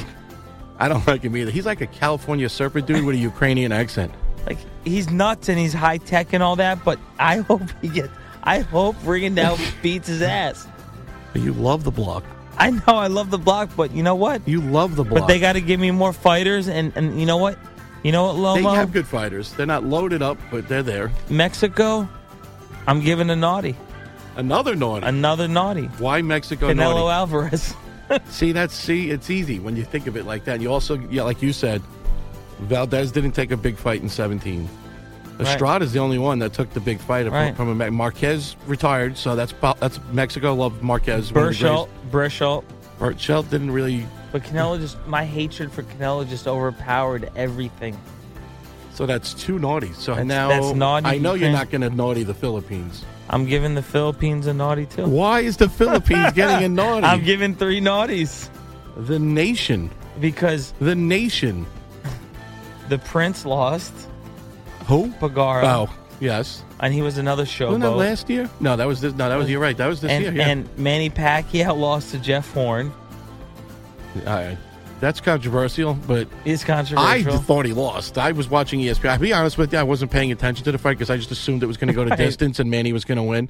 [SPEAKER 9] I don't like him either. He's like a California surfer dude with a Ukrainian accent.
[SPEAKER 8] like he's nuts and he's high tech and all that, but I hope he gets I hope Ringendow beats his ass.
[SPEAKER 9] But you love the block.
[SPEAKER 8] I know I love the block, but you know what?
[SPEAKER 9] You love the block.
[SPEAKER 8] But they got to give me more fighters, and, and you know what? You know what,
[SPEAKER 9] They
[SPEAKER 8] Lomo?
[SPEAKER 9] have good fighters. They're not loaded up, but they're there.
[SPEAKER 8] Mexico, I'm giving a naughty.
[SPEAKER 9] Another naughty.
[SPEAKER 8] Another naughty.
[SPEAKER 9] Why Mexico
[SPEAKER 8] Canelo
[SPEAKER 9] naughty?
[SPEAKER 8] Alvarez.
[SPEAKER 9] See that's see it's easy when you think of it like that. And you also yeah, like you said, Valdez didn't take a big fight in seventeen.
[SPEAKER 8] Right.
[SPEAKER 9] Estrada's the only one that took the big fight
[SPEAKER 8] Right.
[SPEAKER 9] from, from a, Marquez retired, so that's that's Mexico loved Marquez. one of the
[SPEAKER 8] Burchelt. Burchelt.
[SPEAKER 9] greatest- Burchell didn't really
[SPEAKER 8] But Canelo just, my hatred for Canelo just overpowered everything.
[SPEAKER 9] So that's two naughty. So
[SPEAKER 8] That's-
[SPEAKER 9] now
[SPEAKER 8] that's naughty
[SPEAKER 9] I know you're
[SPEAKER 8] Ukraine.
[SPEAKER 9] not going to naughty the Philippines.
[SPEAKER 8] I'm giving the Philippines a naughty too.
[SPEAKER 9] Why is the Philippines getting a naughty?
[SPEAKER 8] I'm giving three naughties
[SPEAKER 9] the nation,
[SPEAKER 8] because
[SPEAKER 9] the nation.
[SPEAKER 8] the Prince lost
[SPEAKER 9] Who?
[SPEAKER 8] Pagaro,
[SPEAKER 9] Oh, yes.
[SPEAKER 8] and he was another showboat.
[SPEAKER 9] Wasn't that last year? No, that was this. No, that was you're right. That was this
[SPEAKER 8] and,
[SPEAKER 9] year. Yeah.
[SPEAKER 8] and Manny Pacquiao lost to Jeff Horn.
[SPEAKER 9] All right. That's controversial, but
[SPEAKER 8] Is
[SPEAKER 9] I
[SPEAKER 8] controversial.
[SPEAKER 9] thought he lost. I was watching E ESPN. I'll be honest with you, I wasn't paying attention to the fight because I just assumed it was going to go to
[SPEAKER 8] Right.
[SPEAKER 9] distance and Manny was going to win.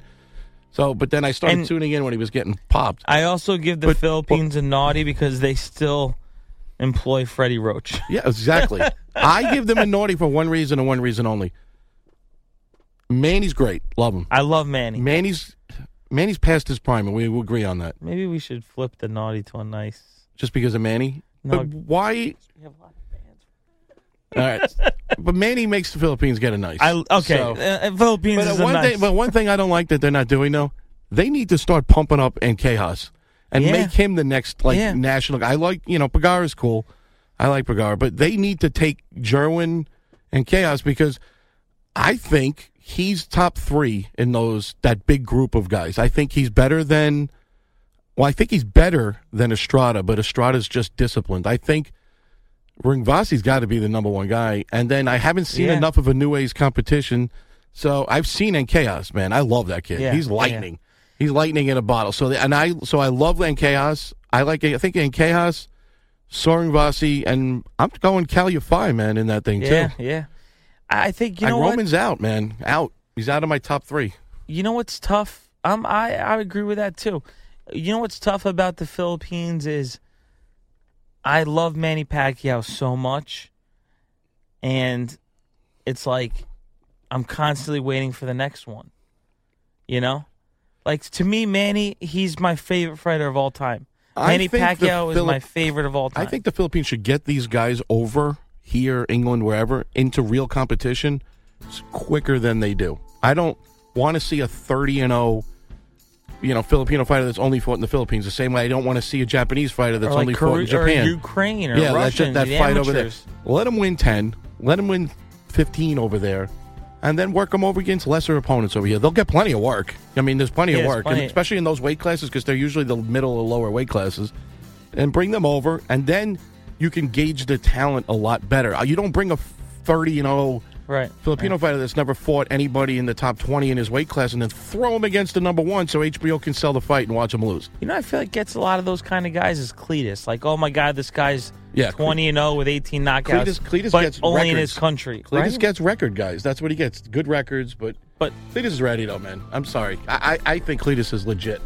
[SPEAKER 9] So, but then I started
[SPEAKER 8] And-
[SPEAKER 9] tuning in when he was getting popped.
[SPEAKER 8] I also give the
[SPEAKER 9] But-
[SPEAKER 8] Philippines a naughty because they still employ Freddie Roach.
[SPEAKER 9] Yeah, exactly. I give them a naughty for one reason and one reason only. Manny's great. Love him.
[SPEAKER 8] I love Manny.
[SPEAKER 9] Manny's Manny's past his prime, and we will agree on that.
[SPEAKER 8] Maybe we should flip the naughty to a nice.
[SPEAKER 9] Just because of Manny.
[SPEAKER 8] No.
[SPEAKER 9] But why
[SPEAKER 8] We have a lot of fans.
[SPEAKER 9] all right. But Manny makes the Philippines get a nice.
[SPEAKER 8] I okay.
[SPEAKER 9] So-
[SPEAKER 8] uh, Philippines
[SPEAKER 9] but
[SPEAKER 8] is
[SPEAKER 9] uh,
[SPEAKER 8] a
[SPEAKER 9] one
[SPEAKER 8] nice.
[SPEAKER 9] thing but one thing I don't like that they're not doing though, they need to start pumping up Anquejas and
[SPEAKER 8] Yeah.
[SPEAKER 9] make him the next like
[SPEAKER 8] Yeah.
[SPEAKER 9] national I like you know, Pagar is cool. I like Pagar, but they need to take Jerwin and Chaos because I think he's top three in those that big group of guys. I think he's better than well, I think he's better than Estrada, but Estrada's just disciplined. I think Ringvasi's got to be the number one guy, and then I haven't seen
[SPEAKER 8] Yeah.
[SPEAKER 9] enough of a New Age competition, so I've seen in Chaos, man. I love that kid.
[SPEAKER 8] Yeah,
[SPEAKER 9] He's
[SPEAKER 8] yeah.
[SPEAKER 9] lightning. He's lightning in a bottle. So the- and I so I love in Chaos. I like I think in Chaos, Soaring Vasi, and I'm going Calify, man, in that thing
[SPEAKER 8] yeah,
[SPEAKER 9] too.
[SPEAKER 8] yeah. I think you
[SPEAKER 9] And
[SPEAKER 8] know what.
[SPEAKER 9] Roman's out, man. Out. He's out of my top three.
[SPEAKER 8] You know what's tough. Um, I I agree with that too. You know what's tough about the Philippines is I love Manny Pacquiao so much, and it's like I'm constantly waiting for the next one. You know, like to me, Manny, he's my favorite fighter of all time.
[SPEAKER 9] I
[SPEAKER 8] Manny
[SPEAKER 9] think the
[SPEAKER 8] Pacquiao is
[SPEAKER 9] Philip-
[SPEAKER 8] my favorite of all time.
[SPEAKER 9] I think the Philippines should get these guys over here, England, wherever, into real competition s- quicker than they do. I don't want to see a 30 and 0 you know, Filipino fighter that's only fought in the Philippines. The same way I don't want to see a Japanese fighter that's
[SPEAKER 8] Or like
[SPEAKER 9] only fought in
[SPEAKER 8] Kore- or
[SPEAKER 9] Japan.
[SPEAKER 8] Ukraine or
[SPEAKER 9] yeah,
[SPEAKER 8] Russian,
[SPEAKER 9] that,
[SPEAKER 8] the
[SPEAKER 9] that fight over there.
[SPEAKER 8] amateurs.
[SPEAKER 9] Let them win 10. Let them win 15 over there. And then work them over against lesser opponents over here. They'll get plenty of work. I mean, there's plenty
[SPEAKER 8] Yeah,
[SPEAKER 9] of
[SPEAKER 8] it's
[SPEAKER 9] work,
[SPEAKER 8] plenty.
[SPEAKER 9] And especially in those weight classes because they're usually the middle or lower weight classes. And bring them over, and then you can gauge the talent a lot better. Uh, You don't bring a 30 and 0
[SPEAKER 8] right.
[SPEAKER 9] Filipino fighter that's never fought anybody in the top 20 in his weight class and then throw him against the number one so HBO can sell the fight and watch him lose.
[SPEAKER 8] You know, I feel like gets a lot of those kind of guys is Cletus. Like, oh my god, this guy's
[SPEAKER 9] Yeah,
[SPEAKER 8] twenty and zero with eighteen knockouts.
[SPEAKER 9] Cletus, Cletus
[SPEAKER 8] but
[SPEAKER 9] gets
[SPEAKER 8] only
[SPEAKER 9] records.
[SPEAKER 8] in his country.
[SPEAKER 9] Cletus
[SPEAKER 8] right?
[SPEAKER 9] gets record guys. That's what he gets. Good records, but
[SPEAKER 8] but
[SPEAKER 9] Cletus is ready though, man. I'm sorry. I I, I think Cletus is legit.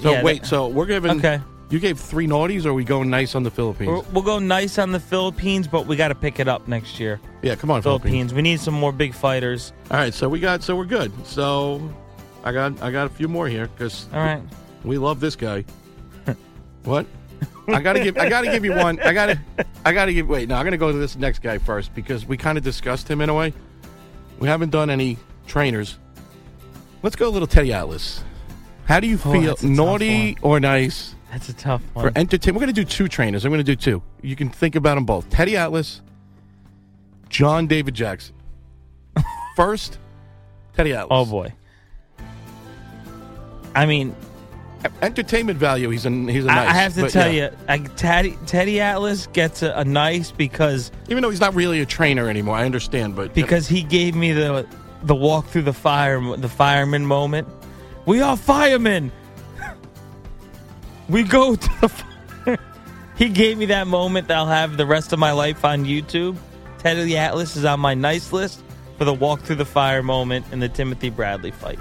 [SPEAKER 9] So
[SPEAKER 8] Yeah,
[SPEAKER 9] wait,
[SPEAKER 8] that-
[SPEAKER 9] so we're giving
[SPEAKER 8] Okay.
[SPEAKER 9] You gave three naughties, or are we going nice on the Philippines?
[SPEAKER 8] We're- We'll go nice on the Philippines, but we got to pick it up next year.
[SPEAKER 9] yeah, come on, Philippines.
[SPEAKER 8] Oh. Philippines. We need some more big fighters.
[SPEAKER 9] All right, so we got so we're good. So I got I got a few more here because
[SPEAKER 8] All right.
[SPEAKER 9] we love this guy. what? I gotta give I gotta give you one. I gotta I gotta give wait, no, I'm gonna go to this next guy first because we kinda discussed him in a way. We haven't done any trainers. Let's go a little Teddy Atlas. How do you
[SPEAKER 8] Oh,
[SPEAKER 9] feel
[SPEAKER 8] that's a tough
[SPEAKER 9] naughty or nice
[SPEAKER 8] That's a tough
[SPEAKER 9] for
[SPEAKER 8] one.
[SPEAKER 9] entertainment? We're gonna do two trainers. I'm gonna do two. You can think about them both. Teddy Atlas, John David Jackson. First, Teddy Atlas.
[SPEAKER 8] oh boy. I mean,
[SPEAKER 9] Entertainment value. He's a he's a
[SPEAKER 8] I-
[SPEAKER 9] nice.
[SPEAKER 8] I have to
[SPEAKER 9] but
[SPEAKER 8] tell
[SPEAKER 9] yeah.
[SPEAKER 8] you, I, Teddy, Teddy Atlas gets a, a nice because
[SPEAKER 9] even though he's not really a trainer anymore. I understand, but
[SPEAKER 8] because he gave me the the walk through the fire the fireman moment. We are firemen. we go to the. Fire. he gave me that moment that I'll have the rest of my life on YouTube. Teddy the Atlas is on my nice list for the walk through the fire moment in the Timothy Bradley fight.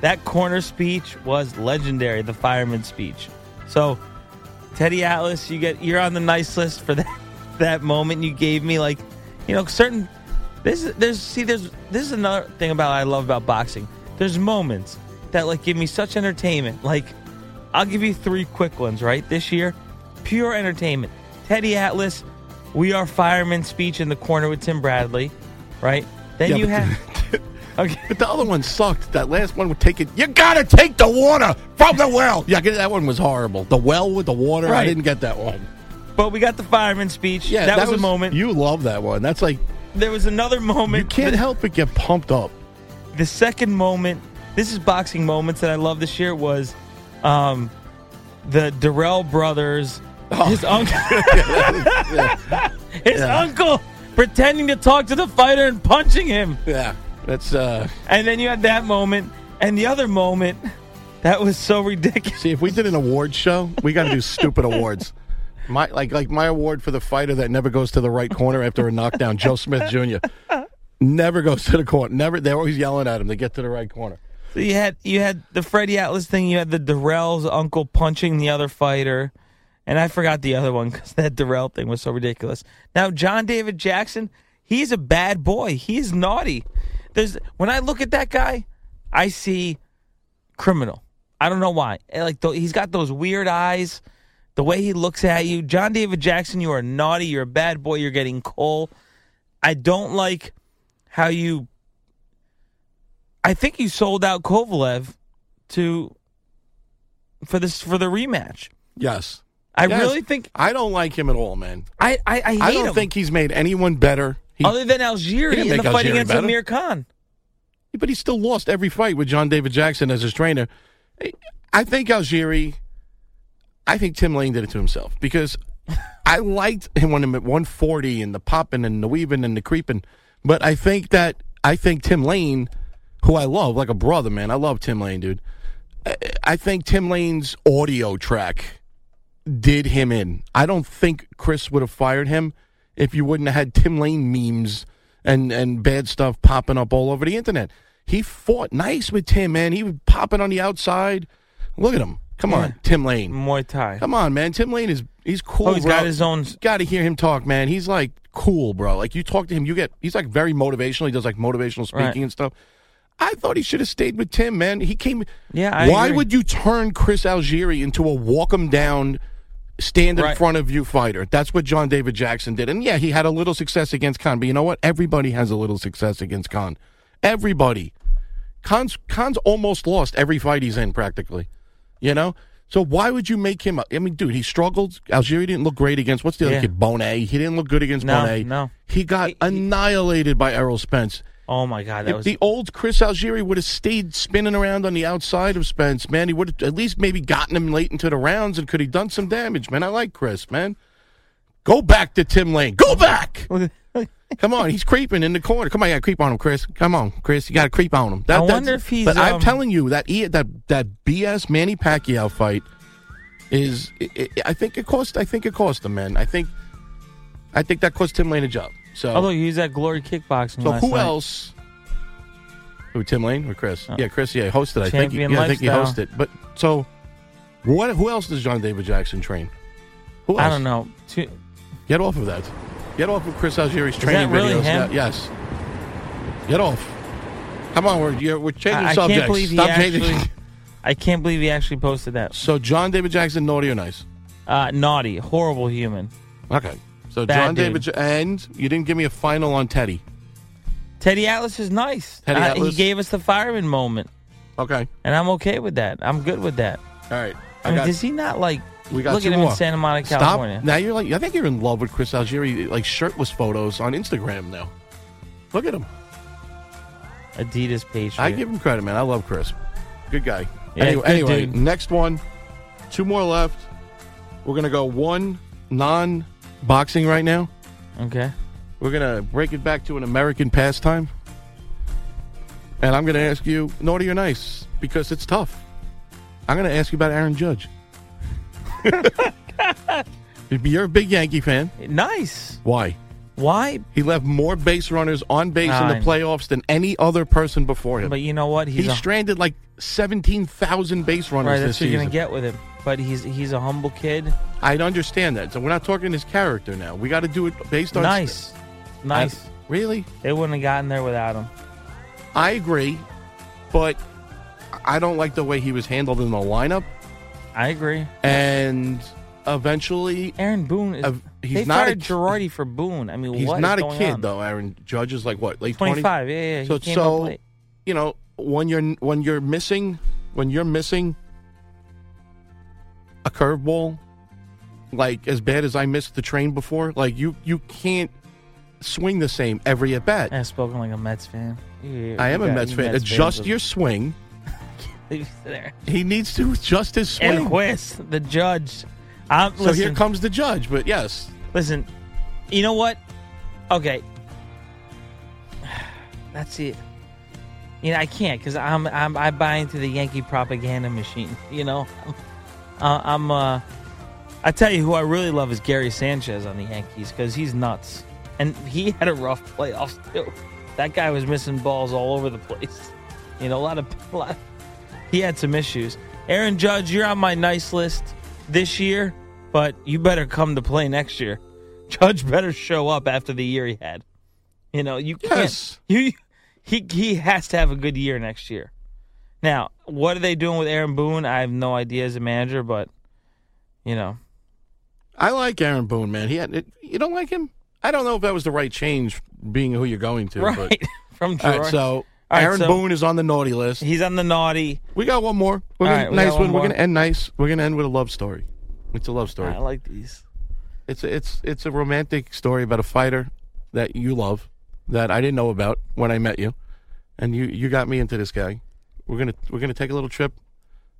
[SPEAKER 8] That corner speech was legendary. The fireman speech. So, Teddy Atlas, you get you're on the nice list for that that moment you gave me. Like, you know, certain this is there's see there's this is another thing about I love about boxing. There's moments that like give me such entertainment. Like, I'll give you three quick ones right this year, pure entertainment. Teddy Atlas, we are firemen speech in the corner with Tim Bradley, right? Then
[SPEAKER 9] Yeah,
[SPEAKER 8] you
[SPEAKER 9] but-
[SPEAKER 8] have okay.
[SPEAKER 9] But the other one sucked. That last one would take it. You gotta take the water from the well. Yeah, I get- that one was horrible. The well with the water. I
[SPEAKER 8] Right.
[SPEAKER 9] didn't get that one.
[SPEAKER 8] But we got the fireman speech.
[SPEAKER 9] Yeah,
[SPEAKER 8] that, was, a moment.
[SPEAKER 9] You love that one. That's like
[SPEAKER 8] there was another moment.
[SPEAKER 9] you can't
[SPEAKER 8] that-
[SPEAKER 9] help but get pumped up.
[SPEAKER 8] the second moment this is boxing moments that i love this year was um the durrell brothers
[SPEAKER 9] Oh.
[SPEAKER 8] his uncle his uncle pretending to talk to the fighter and punching him
[SPEAKER 9] Yeah, that's uh.
[SPEAKER 8] and then you had that moment and the other moment that was so ridiculous
[SPEAKER 9] See, if we did an award show, we got to do stupid awards. My like like my award for the fighter that never goes to the right corner after a knockdown, Joe Smith Jr. Never goes to the corner. Never. They're always yelling at him to get to the right corner.
[SPEAKER 8] So you had you had the Freddie Atlas thing. You had the Durrell's uncle punching the other fighter, and I forgot the other one because that Durrell thing was so ridiculous. Now John David Jackson, he's a bad boy. He is naughty. There's when I look at that guy, I see criminal. I don't know why. And, Like though he's got those weird eyes, the way he looks at you. John David Jackson, you are naughty. You're a bad boy. You're getting coal. I don't like how you I think you sold out Kovalev to for this for the rematch.
[SPEAKER 9] Yes.
[SPEAKER 8] I
[SPEAKER 9] Yes.
[SPEAKER 8] really think
[SPEAKER 9] I don't like him at all, man.
[SPEAKER 8] I I, I hate
[SPEAKER 9] I don't
[SPEAKER 8] him.
[SPEAKER 9] think he's made anyone better. He,
[SPEAKER 8] other than Algieri
[SPEAKER 9] he didn't
[SPEAKER 8] in the
[SPEAKER 9] make
[SPEAKER 8] fight
[SPEAKER 9] Algieri
[SPEAKER 8] against
[SPEAKER 9] better.
[SPEAKER 8] Amir Khan.
[SPEAKER 9] but he still lost every fight with John David Jackson as his trainer. I- I think Algieri. I think Tim Lane did it to himself because I liked him when him at 140 and the popping and the weaving and the creeping, but I think that I think Tim Lane, who I love like a brother, man, I love Tim Lane, dude. I, I think Tim Lane's audio track did him in. I don't think Chris would have fired him if you wouldn't have had Tim Lane memes and and bad stuff popping up all over the internet. He fought nice with Tim, man. He was popping on the outside. Look at him. Come on, Tim Lane.
[SPEAKER 8] Muay Thai.
[SPEAKER 9] Come on, man. Tim Lane is he's cool.
[SPEAKER 8] Oh, he's
[SPEAKER 9] bro.
[SPEAKER 8] got his own-
[SPEAKER 9] Got to hear him talk, man. He's like cool, bro. Like you talk to him, you get he's like very motivational. He does like motivational speaking
[SPEAKER 8] Right.
[SPEAKER 9] and stuff. I thought he should have stayed with Tim, man. He came.
[SPEAKER 8] Yeah, I
[SPEAKER 9] why
[SPEAKER 8] agree.
[SPEAKER 9] would you turn Chris Algieri into a walk him down, stand in
[SPEAKER 8] Right.
[SPEAKER 9] front of you fighter? That's what John David Jackson did, and yeah, he had a little success against Khan. But you know what? Everybody has a little success against Khan. Everybody. Khan's Khan's almost lost every fight he's in, practically. You know? So why would you make him a- I mean, dude, he struggled. Algeria didn't look great against what's the other
[SPEAKER 8] Yeah.
[SPEAKER 9] kid? Bonet. He didn't look good against
[SPEAKER 8] No,
[SPEAKER 9] Bonet.
[SPEAKER 8] no.
[SPEAKER 9] He got annihilated by Errol Spence.
[SPEAKER 8] Oh my God, that
[SPEAKER 9] If
[SPEAKER 8] was
[SPEAKER 9] the old Chris Algieri would have stayed spinning around on the outside of Spence, man, he would have at least maybe gotten him late into the rounds and could have done some damage, man. I like Chris, man. Go back to Tim Lane. Go back. Come on, he's creeping in the corner. Come on, you got to creep on him, Chris. Come on, Chris, you got to creep on him.
[SPEAKER 8] I wonder if he's,
[SPEAKER 9] But I'm
[SPEAKER 8] um,
[SPEAKER 9] telling you that E- that that BS Manny Pacquiao fight is. i i I think it cost. I think it cost him, man. I think. I think that cost Tim Lane a job. So
[SPEAKER 8] Although he was at Glory Kickboxing
[SPEAKER 9] Oh. so
[SPEAKER 8] last
[SPEAKER 9] who
[SPEAKER 8] night.
[SPEAKER 9] else? Who Tim Lane or Chris?
[SPEAKER 8] Oh.
[SPEAKER 9] Yeah, Chris. Yeah, hosted. I think. He,
[SPEAKER 8] Champion
[SPEAKER 9] yeah, I think he
[SPEAKER 8] Lifestyle.
[SPEAKER 9] hosted. But so, what? Who else does John David Jackson train? Who else?
[SPEAKER 8] I don't know. Two-
[SPEAKER 9] Get off of that. Get off of Chris Algieri's
[SPEAKER 8] Is
[SPEAKER 9] training
[SPEAKER 8] that really
[SPEAKER 9] videos.
[SPEAKER 8] him?
[SPEAKER 9] Yeah, yes. Get off. Come on, we're you're, we're changing
[SPEAKER 8] I, I
[SPEAKER 9] subjects.
[SPEAKER 8] can't believe he
[SPEAKER 9] Stop changing.
[SPEAKER 8] actually. I can't believe he actually posted that.
[SPEAKER 9] So John David Jackson, naughty or nice?
[SPEAKER 8] Uh, naughty, horrible human.
[SPEAKER 9] Okay. So
[SPEAKER 8] Bad
[SPEAKER 9] John
[SPEAKER 8] dude.
[SPEAKER 9] David J- and you didn't give me a final on Teddy.
[SPEAKER 8] Teddy Atlas is nice.
[SPEAKER 9] Teddy
[SPEAKER 8] Uh,
[SPEAKER 9] Atlas?
[SPEAKER 8] He gave us the fireman moment,
[SPEAKER 9] Okay.
[SPEAKER 8] and I'm okay with that. I'm good with that.
[SPEAKER 9] All right.
[SPEAKER 8] I mean, does he not like?
[SPEAKER 9] We got
[SPEAKER 8] look
[SPEAKER 9] two
[SPEAKER 8] at him
[SPEAKER 9] more.
[SPEAKER 8] in Santa Monica,
[SPEAKER 9] Stop.
[SPEAKER 8] Oh, California.
[SPEAKER 9] Now you're like I think you're in love with Chris Algieri like shirtless photos on Instagram now. Look at him.
[SPEAKER 8] Adidas page.
[SPEAKER 9] I give him credit, man. I love Chris. Good guy.
[SPEAKER 8] Yeah,
[SPEAKER 9] anyway,
[SPEAKER 8] good
[SPEAKER 9] anyway
[SPEAKER 8] dude.
[SPEAKER 9] next one. Two more left. We're gonna go one non boxing right now.
[SPEAKER 8] Okay.
[SPEAKER 9] We're gonna break it back to an American pastime. And I'm gonna ask you, naughty or nice, because it's tough. I'm gonna ask you about Aaron Judge. You're a big Yankee fan.
[SPEAKER 8] Nice.
[SPEAKER 9] Why?
[SPEAKER 8] Why?
[SPEAKER 9] He left more base runners on base in
[SPEAKER 8] Nine.
[SPEAKER 9] the playoffs than any other person before him.
[SPEAKER 8] But you know what? He's
[SPEAKER 9] he
[SPEAKER 8] a,
[SPEAKER 9] stranded like 17,000 base runners
[SPEAKER 8] right.
[SPEAKER 9] this
[SPEAKER 8] That's what you're
[SPEAKER 9] season.
[SPEAKER 8] gonna get with him. But he's he's a humble kid.
[SPEAKER 9] I understand that. So we're not talking his character now. We got to do it based on
[SPEAKER 8] Nice, nice.
[SPEAKER 9] I- really?
[SPEAKER 8] they wouldn't have gotten there without him.
[SPEAKER 9] I agree, but I don't like the way he was handled in the lineup.
[SPEAKER 8] I agree.
[SPEAKER 9] And eventually,
[SPEAKER 8] Aaron Boone is.
[SPEAKER 9] Uh, he's
[SPEAKER 8] they
[SPEAKER 9] not a
[SPEAKER 8] fired
[SPEAKER 9] ki-
[SPEAKER 8] Girardi for Boone. I mean,
[SPEAKER 9] he's
[SPEAKER 8] what is
[SPEAKER 9] not a
[SPEAKER 8] going
[SPEAKER 9] kid
[SPEAKER 8] on?
[SPEAKER 9] though. Aaron Judge is like what late 20?
[SPEAKER 8] 25, yeah, yeah, he
[SPEAKER 9] So
[SPEAKER 8] came
[SPEAKER 9] so
[SPEAKER 8] up late.
[SPEAKER 9] you know when you're when you're missing when you're missing a curveball like as bad as I missed the train before. Like you you can't swing the same every at bat.
[SPEAKER 8] I spoken like a Mets fan. You-
[SPEAKER 9] I
[SPEAKER 8] you
[SPEAKER 9] am a
[SPEAKER 8] got-
[SPEAKER 9] Mets
[SPEAKER 8] you
[SPEAKER 9] fan.
[SPEAKER 8] Mets fans
[SPEAKER 9] adjust
[SPEAKER 8] are-
[SPEAKER 9] your swing.
[SPEAKER 8] Leave it there.
[SPEAKER 9] He needs to adjust his swing.
[SPEAKER 8] And Quist, the judge. I'm,
[SPEAKER 9] so
[SPEAKER 8] listen,
[SPEAKER 9] here comes the judge. But yes,
[SPEAKER 8] listen. You know what? Okay, that's it. You know I can't because I'm, I'm I buy into the Yankee propaganda machine. You know, uh, I'm. Uh, I tell you who I really love is Gary Sanchez on the Yankees because he's nuts and he had a rough playoffs too. That guy was missing balls all over the place. You know, a lot of, a lot he had some issues. Aaron Judge, you're on my nice list this year, but you better come to play next year. Judge better show up after the year he had. You know, you can't.
[SPEAKER 9] Yes.
[SPEAKER 8] You, he he has to have a good year next year. Now, what are they doing with Aaron Boone? I have no idea as a manager, but you know,
[SPEAKER 9] I like Aaron Boone, man. He had it, you don't like him. I don't know if that was the right change, being who you're going to.
[SPEAKER 8] right
[SPEAKER 9] But.
[SPEAKER 8] from
[SPEAKER 9] All
[SPEAKER 8] Gerard,
[SPEAKER 9] right, so
[SPEAKER 8] right,
[SPEAKER 9] Aaron
[SPEAKER 8] so-
[SPEAKER 9] Boone is on the naughty list.
[SPEAKER 8] he's on the naughty.
[SPEAKER 9] We got one more. We're
[SPEAKER 8] All
[SPEAKER 9] gonna,
[SPEAKER 8] right, we
[SPEAKER 9] nice
[SPEAKER 8] got one
[SPEAKER 9] one. We're
[SPEAKER 8] more.
[SPEAKER 9] gonna end nice. We're gonna end with a love story. It's a love story.
[SPEAKER 8] I like these.
[SPEAKER 9] It's a, it's it's a romantic story about a fighter that you love that I didn't know about when I met you, and you you got me into this guy. We're gonna we're gonna take a little trip.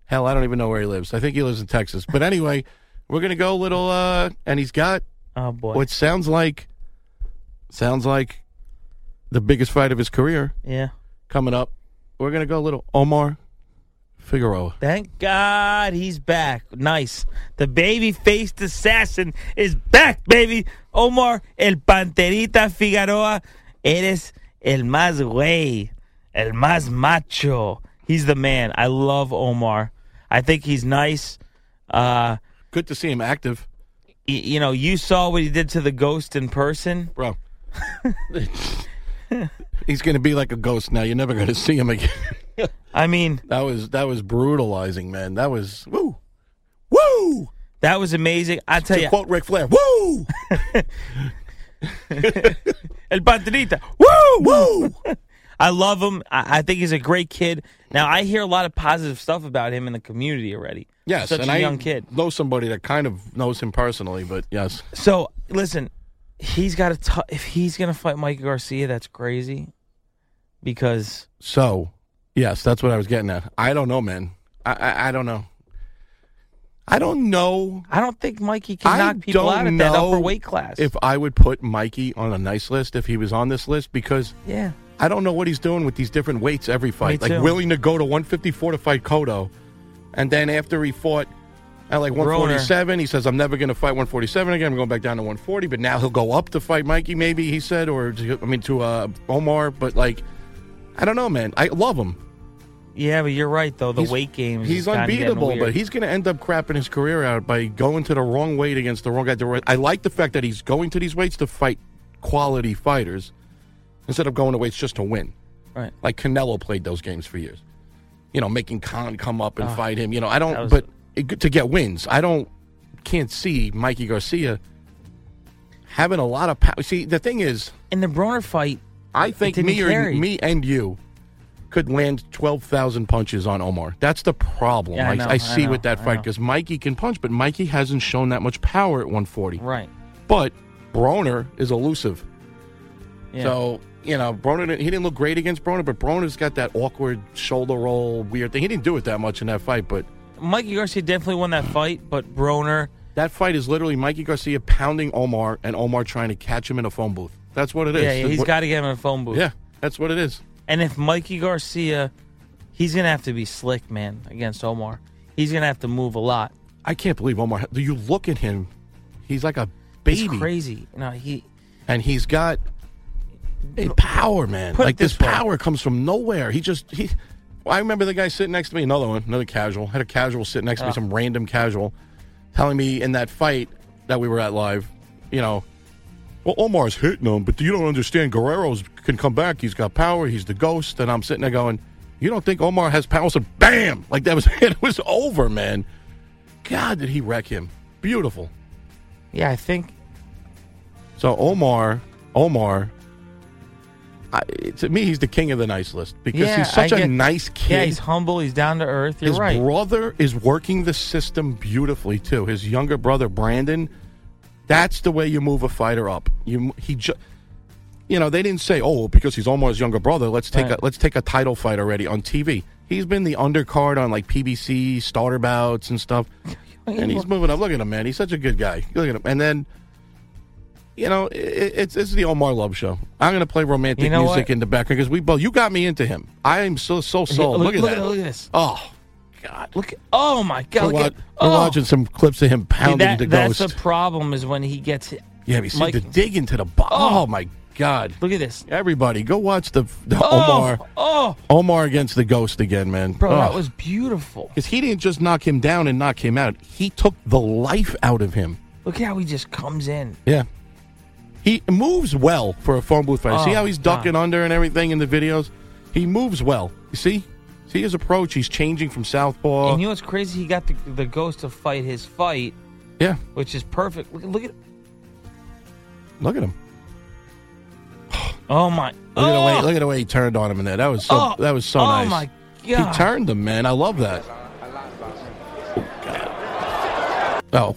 [SPEAKER 9] Hell, I don't even know where he lives. I think he lives in Texas. But anyway, we're gonna go a little. uh And he's got
[SPEAKER 8] Oh boy,
[SPEAKER 9] what sounds like sounds like the biggest fight of his career
[SPEAKER 8] yeah.
[SPEAKER 9] coming up. We're gonna go a little Omar Figueroa.
[SPEAKER 8] Thank God he's back. Nice. The baby faced assassin is back, baby. Omar El Panterita Figueroa. Eres el más güey. El más macho. He's the man. I love Omar. I think he's nice. Uh,
[SPEAKER 9] Good to see him active.
[SPEAKER 8] you know, you saw what he did to the ghost in person,
[SPEAKER 9] bro. He's going to be like a ghost now. You're never going to see him again.
[SPEAKER 8] I mean,
[SPEAKER 9] that was that was brutalizing, man. That was woo,
[SPEAKER 8] woo. That was amazing. I tell
[SPEAKER 9] to
[SPEAKER 8] you,
[SPEAKER 9] quote Ric Flair, woo.
[SPEAKER 8] El Pantanita, woo, woo. I love him. I, I think he's a great kid. Now I hear a lot of positive stuff about him in the community already.
[SPEAKER 9] Yes,
[SPEAKER 8] such
[SPEAKER 9] and
[SPEAKER 8] a
[SPEAKER 9] I
[SPEAKER 8] young kid.
[SPEAKER 9] know somebody that kind of knows him personally, but yes,
[SPEAKER 8] So listen, he's got to. If he's gonna fight Mike Garcia, that's crazy. Because
[SPEAKER 9] So, yes, that's what I was getting at. I don't know, man. I I, I don't know. I don't know.
[SPEAKER 8] I don't think Mikey can knock people out at that upper weight class.
[SPEAKER 9] If I would put Mikey on a nice list, if he was on this list, because
[SPEAKER 8] yeah,
[SPEAKER 9] I don't know what he's doing with these different weights every fight.
[SPEAKER 8] Me
[SPEAKER 9] Like
[SPEAKER 8] too.
[SPEAKER 9] willing to go to 154 to fight Cotto, and then after he fought at like
[SPEAKER 8] Broner.
[SPEAKER 9] 147, he says I'm never going to fight 147 again. I'm going back down to 140, but now he'll go up to fight Mikey. Maybe he said, or to- I mean to uh, Omar, but like I don't know, man. I love him.
[SPEAKER 8] yeah, but you're right though. The
[SPEAKER 9] He's-
[SPEAKER 8] weight game. is
[SPEAKER 9] He's
[SPEAKER 8] kinda getting
[SPEAKER 9] unbeatable, but
[SPEAKER 8] weird.
[SPEAKER 9] he's going to end up crapping his career out by going to the wrong weight against the wrong guy. The right- I like the fact that he's going to these weights to fight quality fighters instead of going to weights just to win.
[SPEAKER 8] Right.
[SPEAKER 9] Like Canelo played those games for years. You know, making Khan come up and
[SPEAKER 8] Ah,
[SPEAKER 9] fight him. You know, I
[SPEAKER 8] that
[SPEAKER 9] don't,
[SPEAKER 8] was-
[SPEAKER 9] but it, to get wins, I don't, can't see Mikey Garcia having a lot of power. See, the thing is,
[SPEAKER 8] in the Broner fight,
[SPEAKER 9] I
[SPEAKER 8] it
[SPEAKER 9] think
[SPEAKER 8] didn't
[SPEAKER 9] me or
[SPEAKER 8] carry.
[SPEAKER 9] me and you could land twelve thousand punches on Omar. That's the problem.
[SPEAKER 8] Yeah, I know, I
[SPEAKER 9] see
[SPEAKER 8] know,
[SPEAKER 9] with that
[SPEAKER 8] I
[SPEAKER 9] fight
[SPEAKER 8] know.
[SPEAKER 9] because Mikey can punch, but Mikey hasn't shown that much power at one forty.
[SPEAKER 8] Right.
[SPEAKER 9] But Broner is elusive.
[SPEAKER 8] Yeah.
[SPEAKER 9] So you know, Broner didn't- he didn't look great against Broner, but Broner's got that awkward shoulder roll, weird thing. He didn't do it that much in that fight, but
[SPEAKER 8] Mikey Garcia definitely won that fight, but Broner.
[SPEAKER 9] that fight is literally Mikey Garcia pounding Omar and Omar trying to catch him in a phone booth. That's what it is.
[SPEAKER 8] Yeah, yeah,
[SPEAKER 9] That's
[SPEAKER 8] he's
[SPEAKER 9] what-
[SPEAKER 8] got to get him in a phone booth.
[SPEAKER 9] Yeah, that's what it is.
[SPEAKER 8] And if Mikey Garcia, he's gonna have to be slick, man, against Omar. He's gonna have to move a lot.
[SPEAKER 9] I can't believe Omar. Do you look at him? He's like a baby,
[SPEAKER 8] He's crazy. No, he.
[SPEAKER 9] and he's got a power, man.
[SPEAKER 8] Put it
[SPEAKER 9] like this,
[SPEAKER 8] this way.
[SPEAKER 9] power comes from nowhere. He just he. I remember the guy sitting next to me, another one, another casual. Had a casual sit next to
[SPEAKER 8] Ah.
[SPEAKER 9] me, some random casual, telling me in that fight that we were at live, you know, well, Omar's hitting him, but you don't understand. Guerrero's can come back. He's got power. He's the ghost. And I'm sitting there going, you don't think Omar has power? So bam, like that was it was over, man. God, did he wreck him? Beautiful.
[SPEAKER 8] Yeah, I think.
[SPEAKER 9] So Omar, Omar, I, to me, he's the king of the nice list because
[SPEAKER 8] yeah,
[SPEAKER 9] he's such
[SPEAKER 8] I
[SPEAKER 9] a
[SPEAKER 8] get-
[SPEAKER 9] nice kid.
[SPEAKER 8] Yeah, he's humble. He's down to earth. You're
[SPEAKER 9] His
[SPEAKER 8] right.
[SPEAKER 9] brother is working the system beautifully too. His younger brother Brandon. That's the way you move a fighter up. You he ju- you know they didn't say oh because he's Omar's younger brother. Let's take
[SPEAKER 8] Right.
[SPEAKER 9] a let's take a title fight already on TV. He's been the undercard on like PBC starter bouts and stuff, and he's moving up. Look at him, man. He's such a good guy. Look at him, and then. You know, i- i it's it's the Omar Love show. I'm going to play romantic
[SPEAKER 8] You know
[SPEAKER 9] music
[SPEAKER 8] what?
[SPEAKER 9] in the background because we both you got me into him. I am so so sold. Look,
[SPEAKER 8] look,
[SPEAKER 9] at
[SPEAKER 8] look
[SPEAKER 9] that.
[SPEAKER 8] At, look at this.
[SPEAKER 9] Oh God!
[SPEAKER 8] Look. at- Oh my God.
[SPEAKER 9] We're,
[SPEAKER 8] Look
[SPEAKER 9] wa-
[SPEAKER 8] at,
[SPEAKER 9] we're
[SPEAKER 8] oh.
[SPEAKER 9] watching some clips of him
[SPEAKER 8] See,
[SPEAKER 9] pounding
[SPEAKER 8] that-
[SPEAKER 9] the
[SPEAKER 8] that's
[SPEAKER 9] ghost.
[SPEAKER 8] the problem is when he gets.
[SPEAKER 9] yeah, we see
[SPEAKER 8] Mike-
[SPEAKER 9] the dig into the bo- oh. my God!
[SPEAKER 8] Look at this.
[SPEAKER 9] Everybody, go watch the, the
[SPEAKER 8] Oh,
[SPEAKER 9] Omar
[SPEAKER 8] Oh,
[SPEAKER 9] Omar against the ghost again, man. Oh.
[SPEAKER 8] bro, that was beautiful.
[SPEAKER 9] because he didn't just knock him down and knock him out. He took the life out of him.
[SPEAKER 8] Look at how he just comes in.
[SPEAKER 9] Yeah. He moves well for a phone booth fighter. see
[SPEAKER 8] Oh,
[SPEAKER 9] how he's
[SPEAKER 8] God.
[SPEAKER 9] ducking under and everything in the videos? He moves well. You see? See his approach. He's changing from southpaw.
[SPEAKER 8] and you know what's crazy? He got the, the ghost to fight his fight,
[SPEAKER 9] yeah.
[SPEAKER 8] which is perfect. Look, look at.
[SPEAKER 9] Look at him.
[SPEAKER 8] Oh my.
[SPEAKER 9] Look,
[SPEAKER 8] oh,
[SPEAKER 9] at the way, look at the way he turned on him in there. That was so.
[SPEAKER 8] Oh!
[SPEAKER 9] that was so
[SPEAKER 8] Oh,
[SPEAKER 9] nice.
[SPEAKER 8] my God.
[SPEAKER 9] He turned him, man. I love that. Oh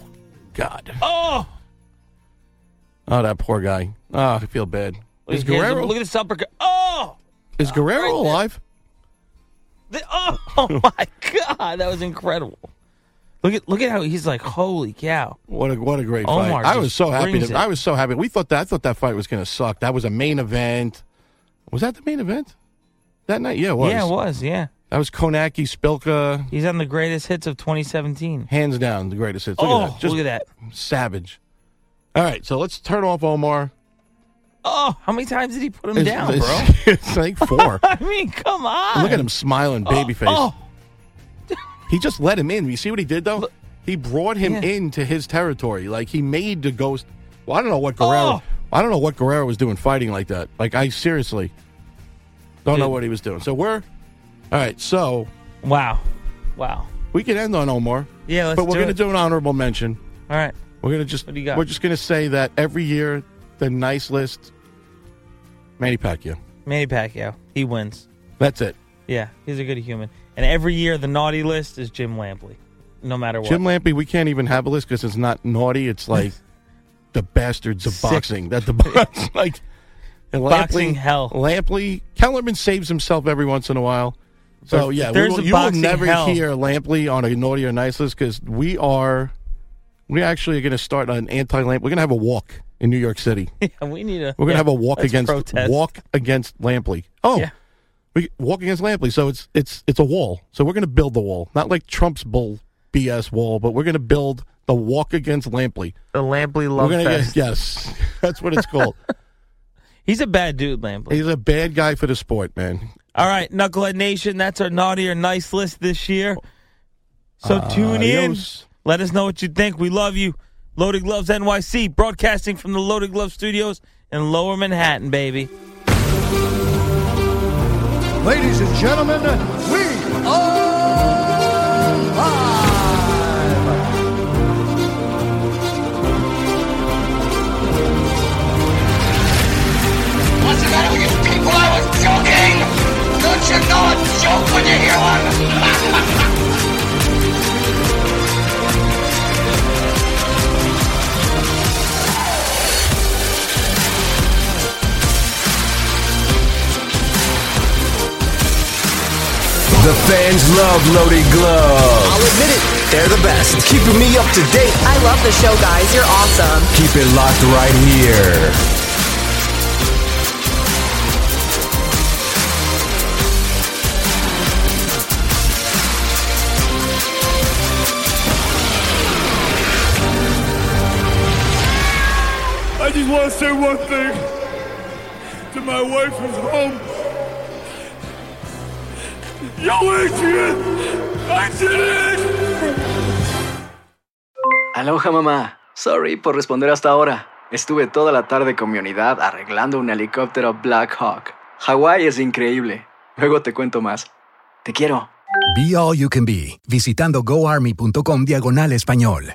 [SPEAKER 9] God. Oh God.
[SPEAKER 8] oh.
[SPEAKER 9] Oh, that poor guy. Oh, I feel bad. Is
[SPEAKER 8] Here's the-
[SPEAKER 9] Guerrero
[SPEAKER 8] Look at this uppercut. Oh.
[SPEAKER 9] is Guerrero alive?
[SPEAKER 8] The- oh, oh my God, that was incredible. Look at look at how he's like, holy cow.
[SPEAKER 9] What a what a great
[SPEAKER 8] Omar
[SPEAKER 9] fight! I
[SPEAKER 8] just
[SPEAKER 9] was so happy.
[SPEAKER 8] brings
[SPEAKER 9] To,
[SPEAKER 8] it.
[SPEAKER 9] I was so happy. We thought that I thought that fight was going to suck. That was a main event. Was that the main event that night? Yeah, it was.
[SPEAKER 8] Yeah, it was. Yeah,
[SPEAKER 9] That was Konaki Spilka,
[SPEAKER 8] he's on the greatest hits of 2017.
[SPEAKER 9] hands down the greatest hits. Look
[SPEAKER 8] oh,
[SPEAKER 9] at that. Just
[SPEAKER 8] look at that.
[SPEAKER 9] savage. All right, so let's turn off Omar.
[SPEAKER 8] Oh, how many times did he put him
[SPEAKER 9] It's-
[SPEAKER 8] down,
[SPEAKER 9] it's-
[SPEAKER 8] bro? Uh,
[SPEAKER 9] It's like four.
[SPEAKER 8] I mean, come on.
[SPEAKER 9] Look at him smiling, baby face.
[SPEAKER 8] Oh.
[SPEAKER 9] He just let him in. You see what he did though? He brought him into his territory. Like he made the ghost. Well, I don't know what
[SPEAKER 8] Oh.
[SPEAKER 9] Guerrero. I don't know what Guerrero was doing fighting like that. Like I seriously don't know
[SPEAKER 8] Dude.
[SPEAKER 9] what he was doing. So we're all right. So
[SPEAKER 8] wow, wow.
[SPEAKER 9] We can end on Omar.
[SPEAKER 8] Yeah, let's
[SPEAKER 9] but we're
[SPEAKER 8] do
[SPEAKER 9] gonna
[SPEAKER 8] it.
[SPEAKER 9] do an honorable mention.
[SPEAKER 8] All right.
[SPEAKER 9] We're gonna just.
[SPEAKER 8] What do you got?
[SPEAKER 9] We're just gonna say that every year the nice list. Manny Pacquiao.
[SPEAKER 8] Manny Pacquiao. He wins.
[SPEAKER 9] That's it.
[SPEAKER 8] Yeah, he's a good human. And every year, the naughty list is Jim Lampley, no matter what.
[SPEAKER 9] Jim Lampley, we can't even have a list because it's not naughty. It's like the bastards of boxing. That the box like and Lampley,
[SPEAKER 8] Boxing hell.
[SPEAKER 9] Lampley Kellerman saves himself every once in a while. So
[SPEAKER 8] If
[SPEAKER 9] yeah, we
[SPEAKER 8] there's
[SPEAKER 9] will,
[SPEAKER 8] a
[SPEAKER 9] you will
[SPEAKER 8] boxing
[SPEAKER 9] never
[SPEAKER 8] hell-
[SPEAKER 9] hear Lampley on a naughty or nice list because we are we actually are going to start an anti Lamp. We're going to have a walk in New York City.
[SPEAKER 8] And we need a.
[SPEAKER 9] We're going to
[SPEAKER 8] yeah,
[SPEAKER 9] have a walk
[SPEAKER 8] let's
[SPEAKER 9] against
[SPEAKER 8] protest.
[SPEAKER 9] walk against Lampley. Oh,
[SPEAKER 8] Yeah.
[SPEAKER 9] we walk against Lampley. So it's it's it's a wall. So we're going to build the wall, not like Trump's bull BS wall, but we're going to build the walk against Lampley.
[SPEAKER 8] the Lampley love
[SPEAKER 9] we're gonna
[SPEAKER 8] fest.
[SPEAKER 9] Get, yes, that's what it's called.
[SPEAKER 8] He's a bad dude, Lampley.
[SPEAKER 9] He's a bad guy for the sport, man.
[SPEAKER 8] All right, Knucklehead Nation, that's our naughty or nice list this year. So tune in.
[SPEAKER 9] Uh, Adios.
[SPEAKER 8] Let us know what you think. We love you. Loaded Gloves NYC, broadcasting from the Loaded Gloves Studios in Lower Manhattan, baby.
[SPEAKER 11] Ladies and gentlemen, we are live. What's the matter with you people? I was joking. Don't you know a joke when you hear one?
[SPEAKER 7] The fans love Loaded Gloves.
[SPEAKER 12] I'll admit it, they're the best.
[SPEAKER 7] Keeping me up to date.
[SPEAKER 12] I love the show, guys. You're awesome.
[SPEAKER 7] Keep it locked right here.
[SPEAKER 5] I just want to say one thing to my wife at home. Yo, Adrian! I did it!
[SPEAKER 2] Aloha mamá. Sorry por responder hasta ahora. Estuve toda la tarde con mi unidad arreglando un helicóptero Black Hawk. Hawái es increíble. Luego te cuento más. Te quiero.
[SPEAKER 3] Be All You Can Be, visitando goarmy.com diagonal español.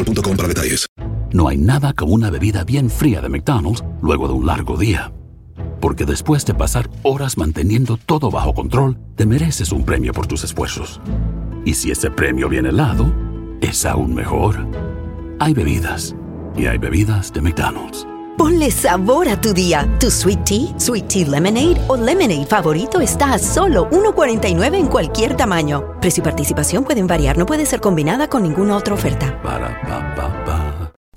[SPEAKER 13] para detalles.
[SPEAKER 14] No hay nada como una bebida bien fría de McDonald's luego de un largo día. Porque después de pasar horas manteniendo todo bajo control, te mereces un premio por tus esfuerzos. Y si ese premio viene helado, es aún mejor. Hay bebidas. Y hay bebidas de McDonald's.
[SPEAKER 15] Ponle sabor a tu día. Tu sweet tea, sweet tea lemonade o lemonade favorito está a solo 1.49 en cualquier tamaño. Precio y participación pueden variar, no puede ser combinada con ninguna otra oferta.
[SPEAKER 14] Para, pa, pa, pa.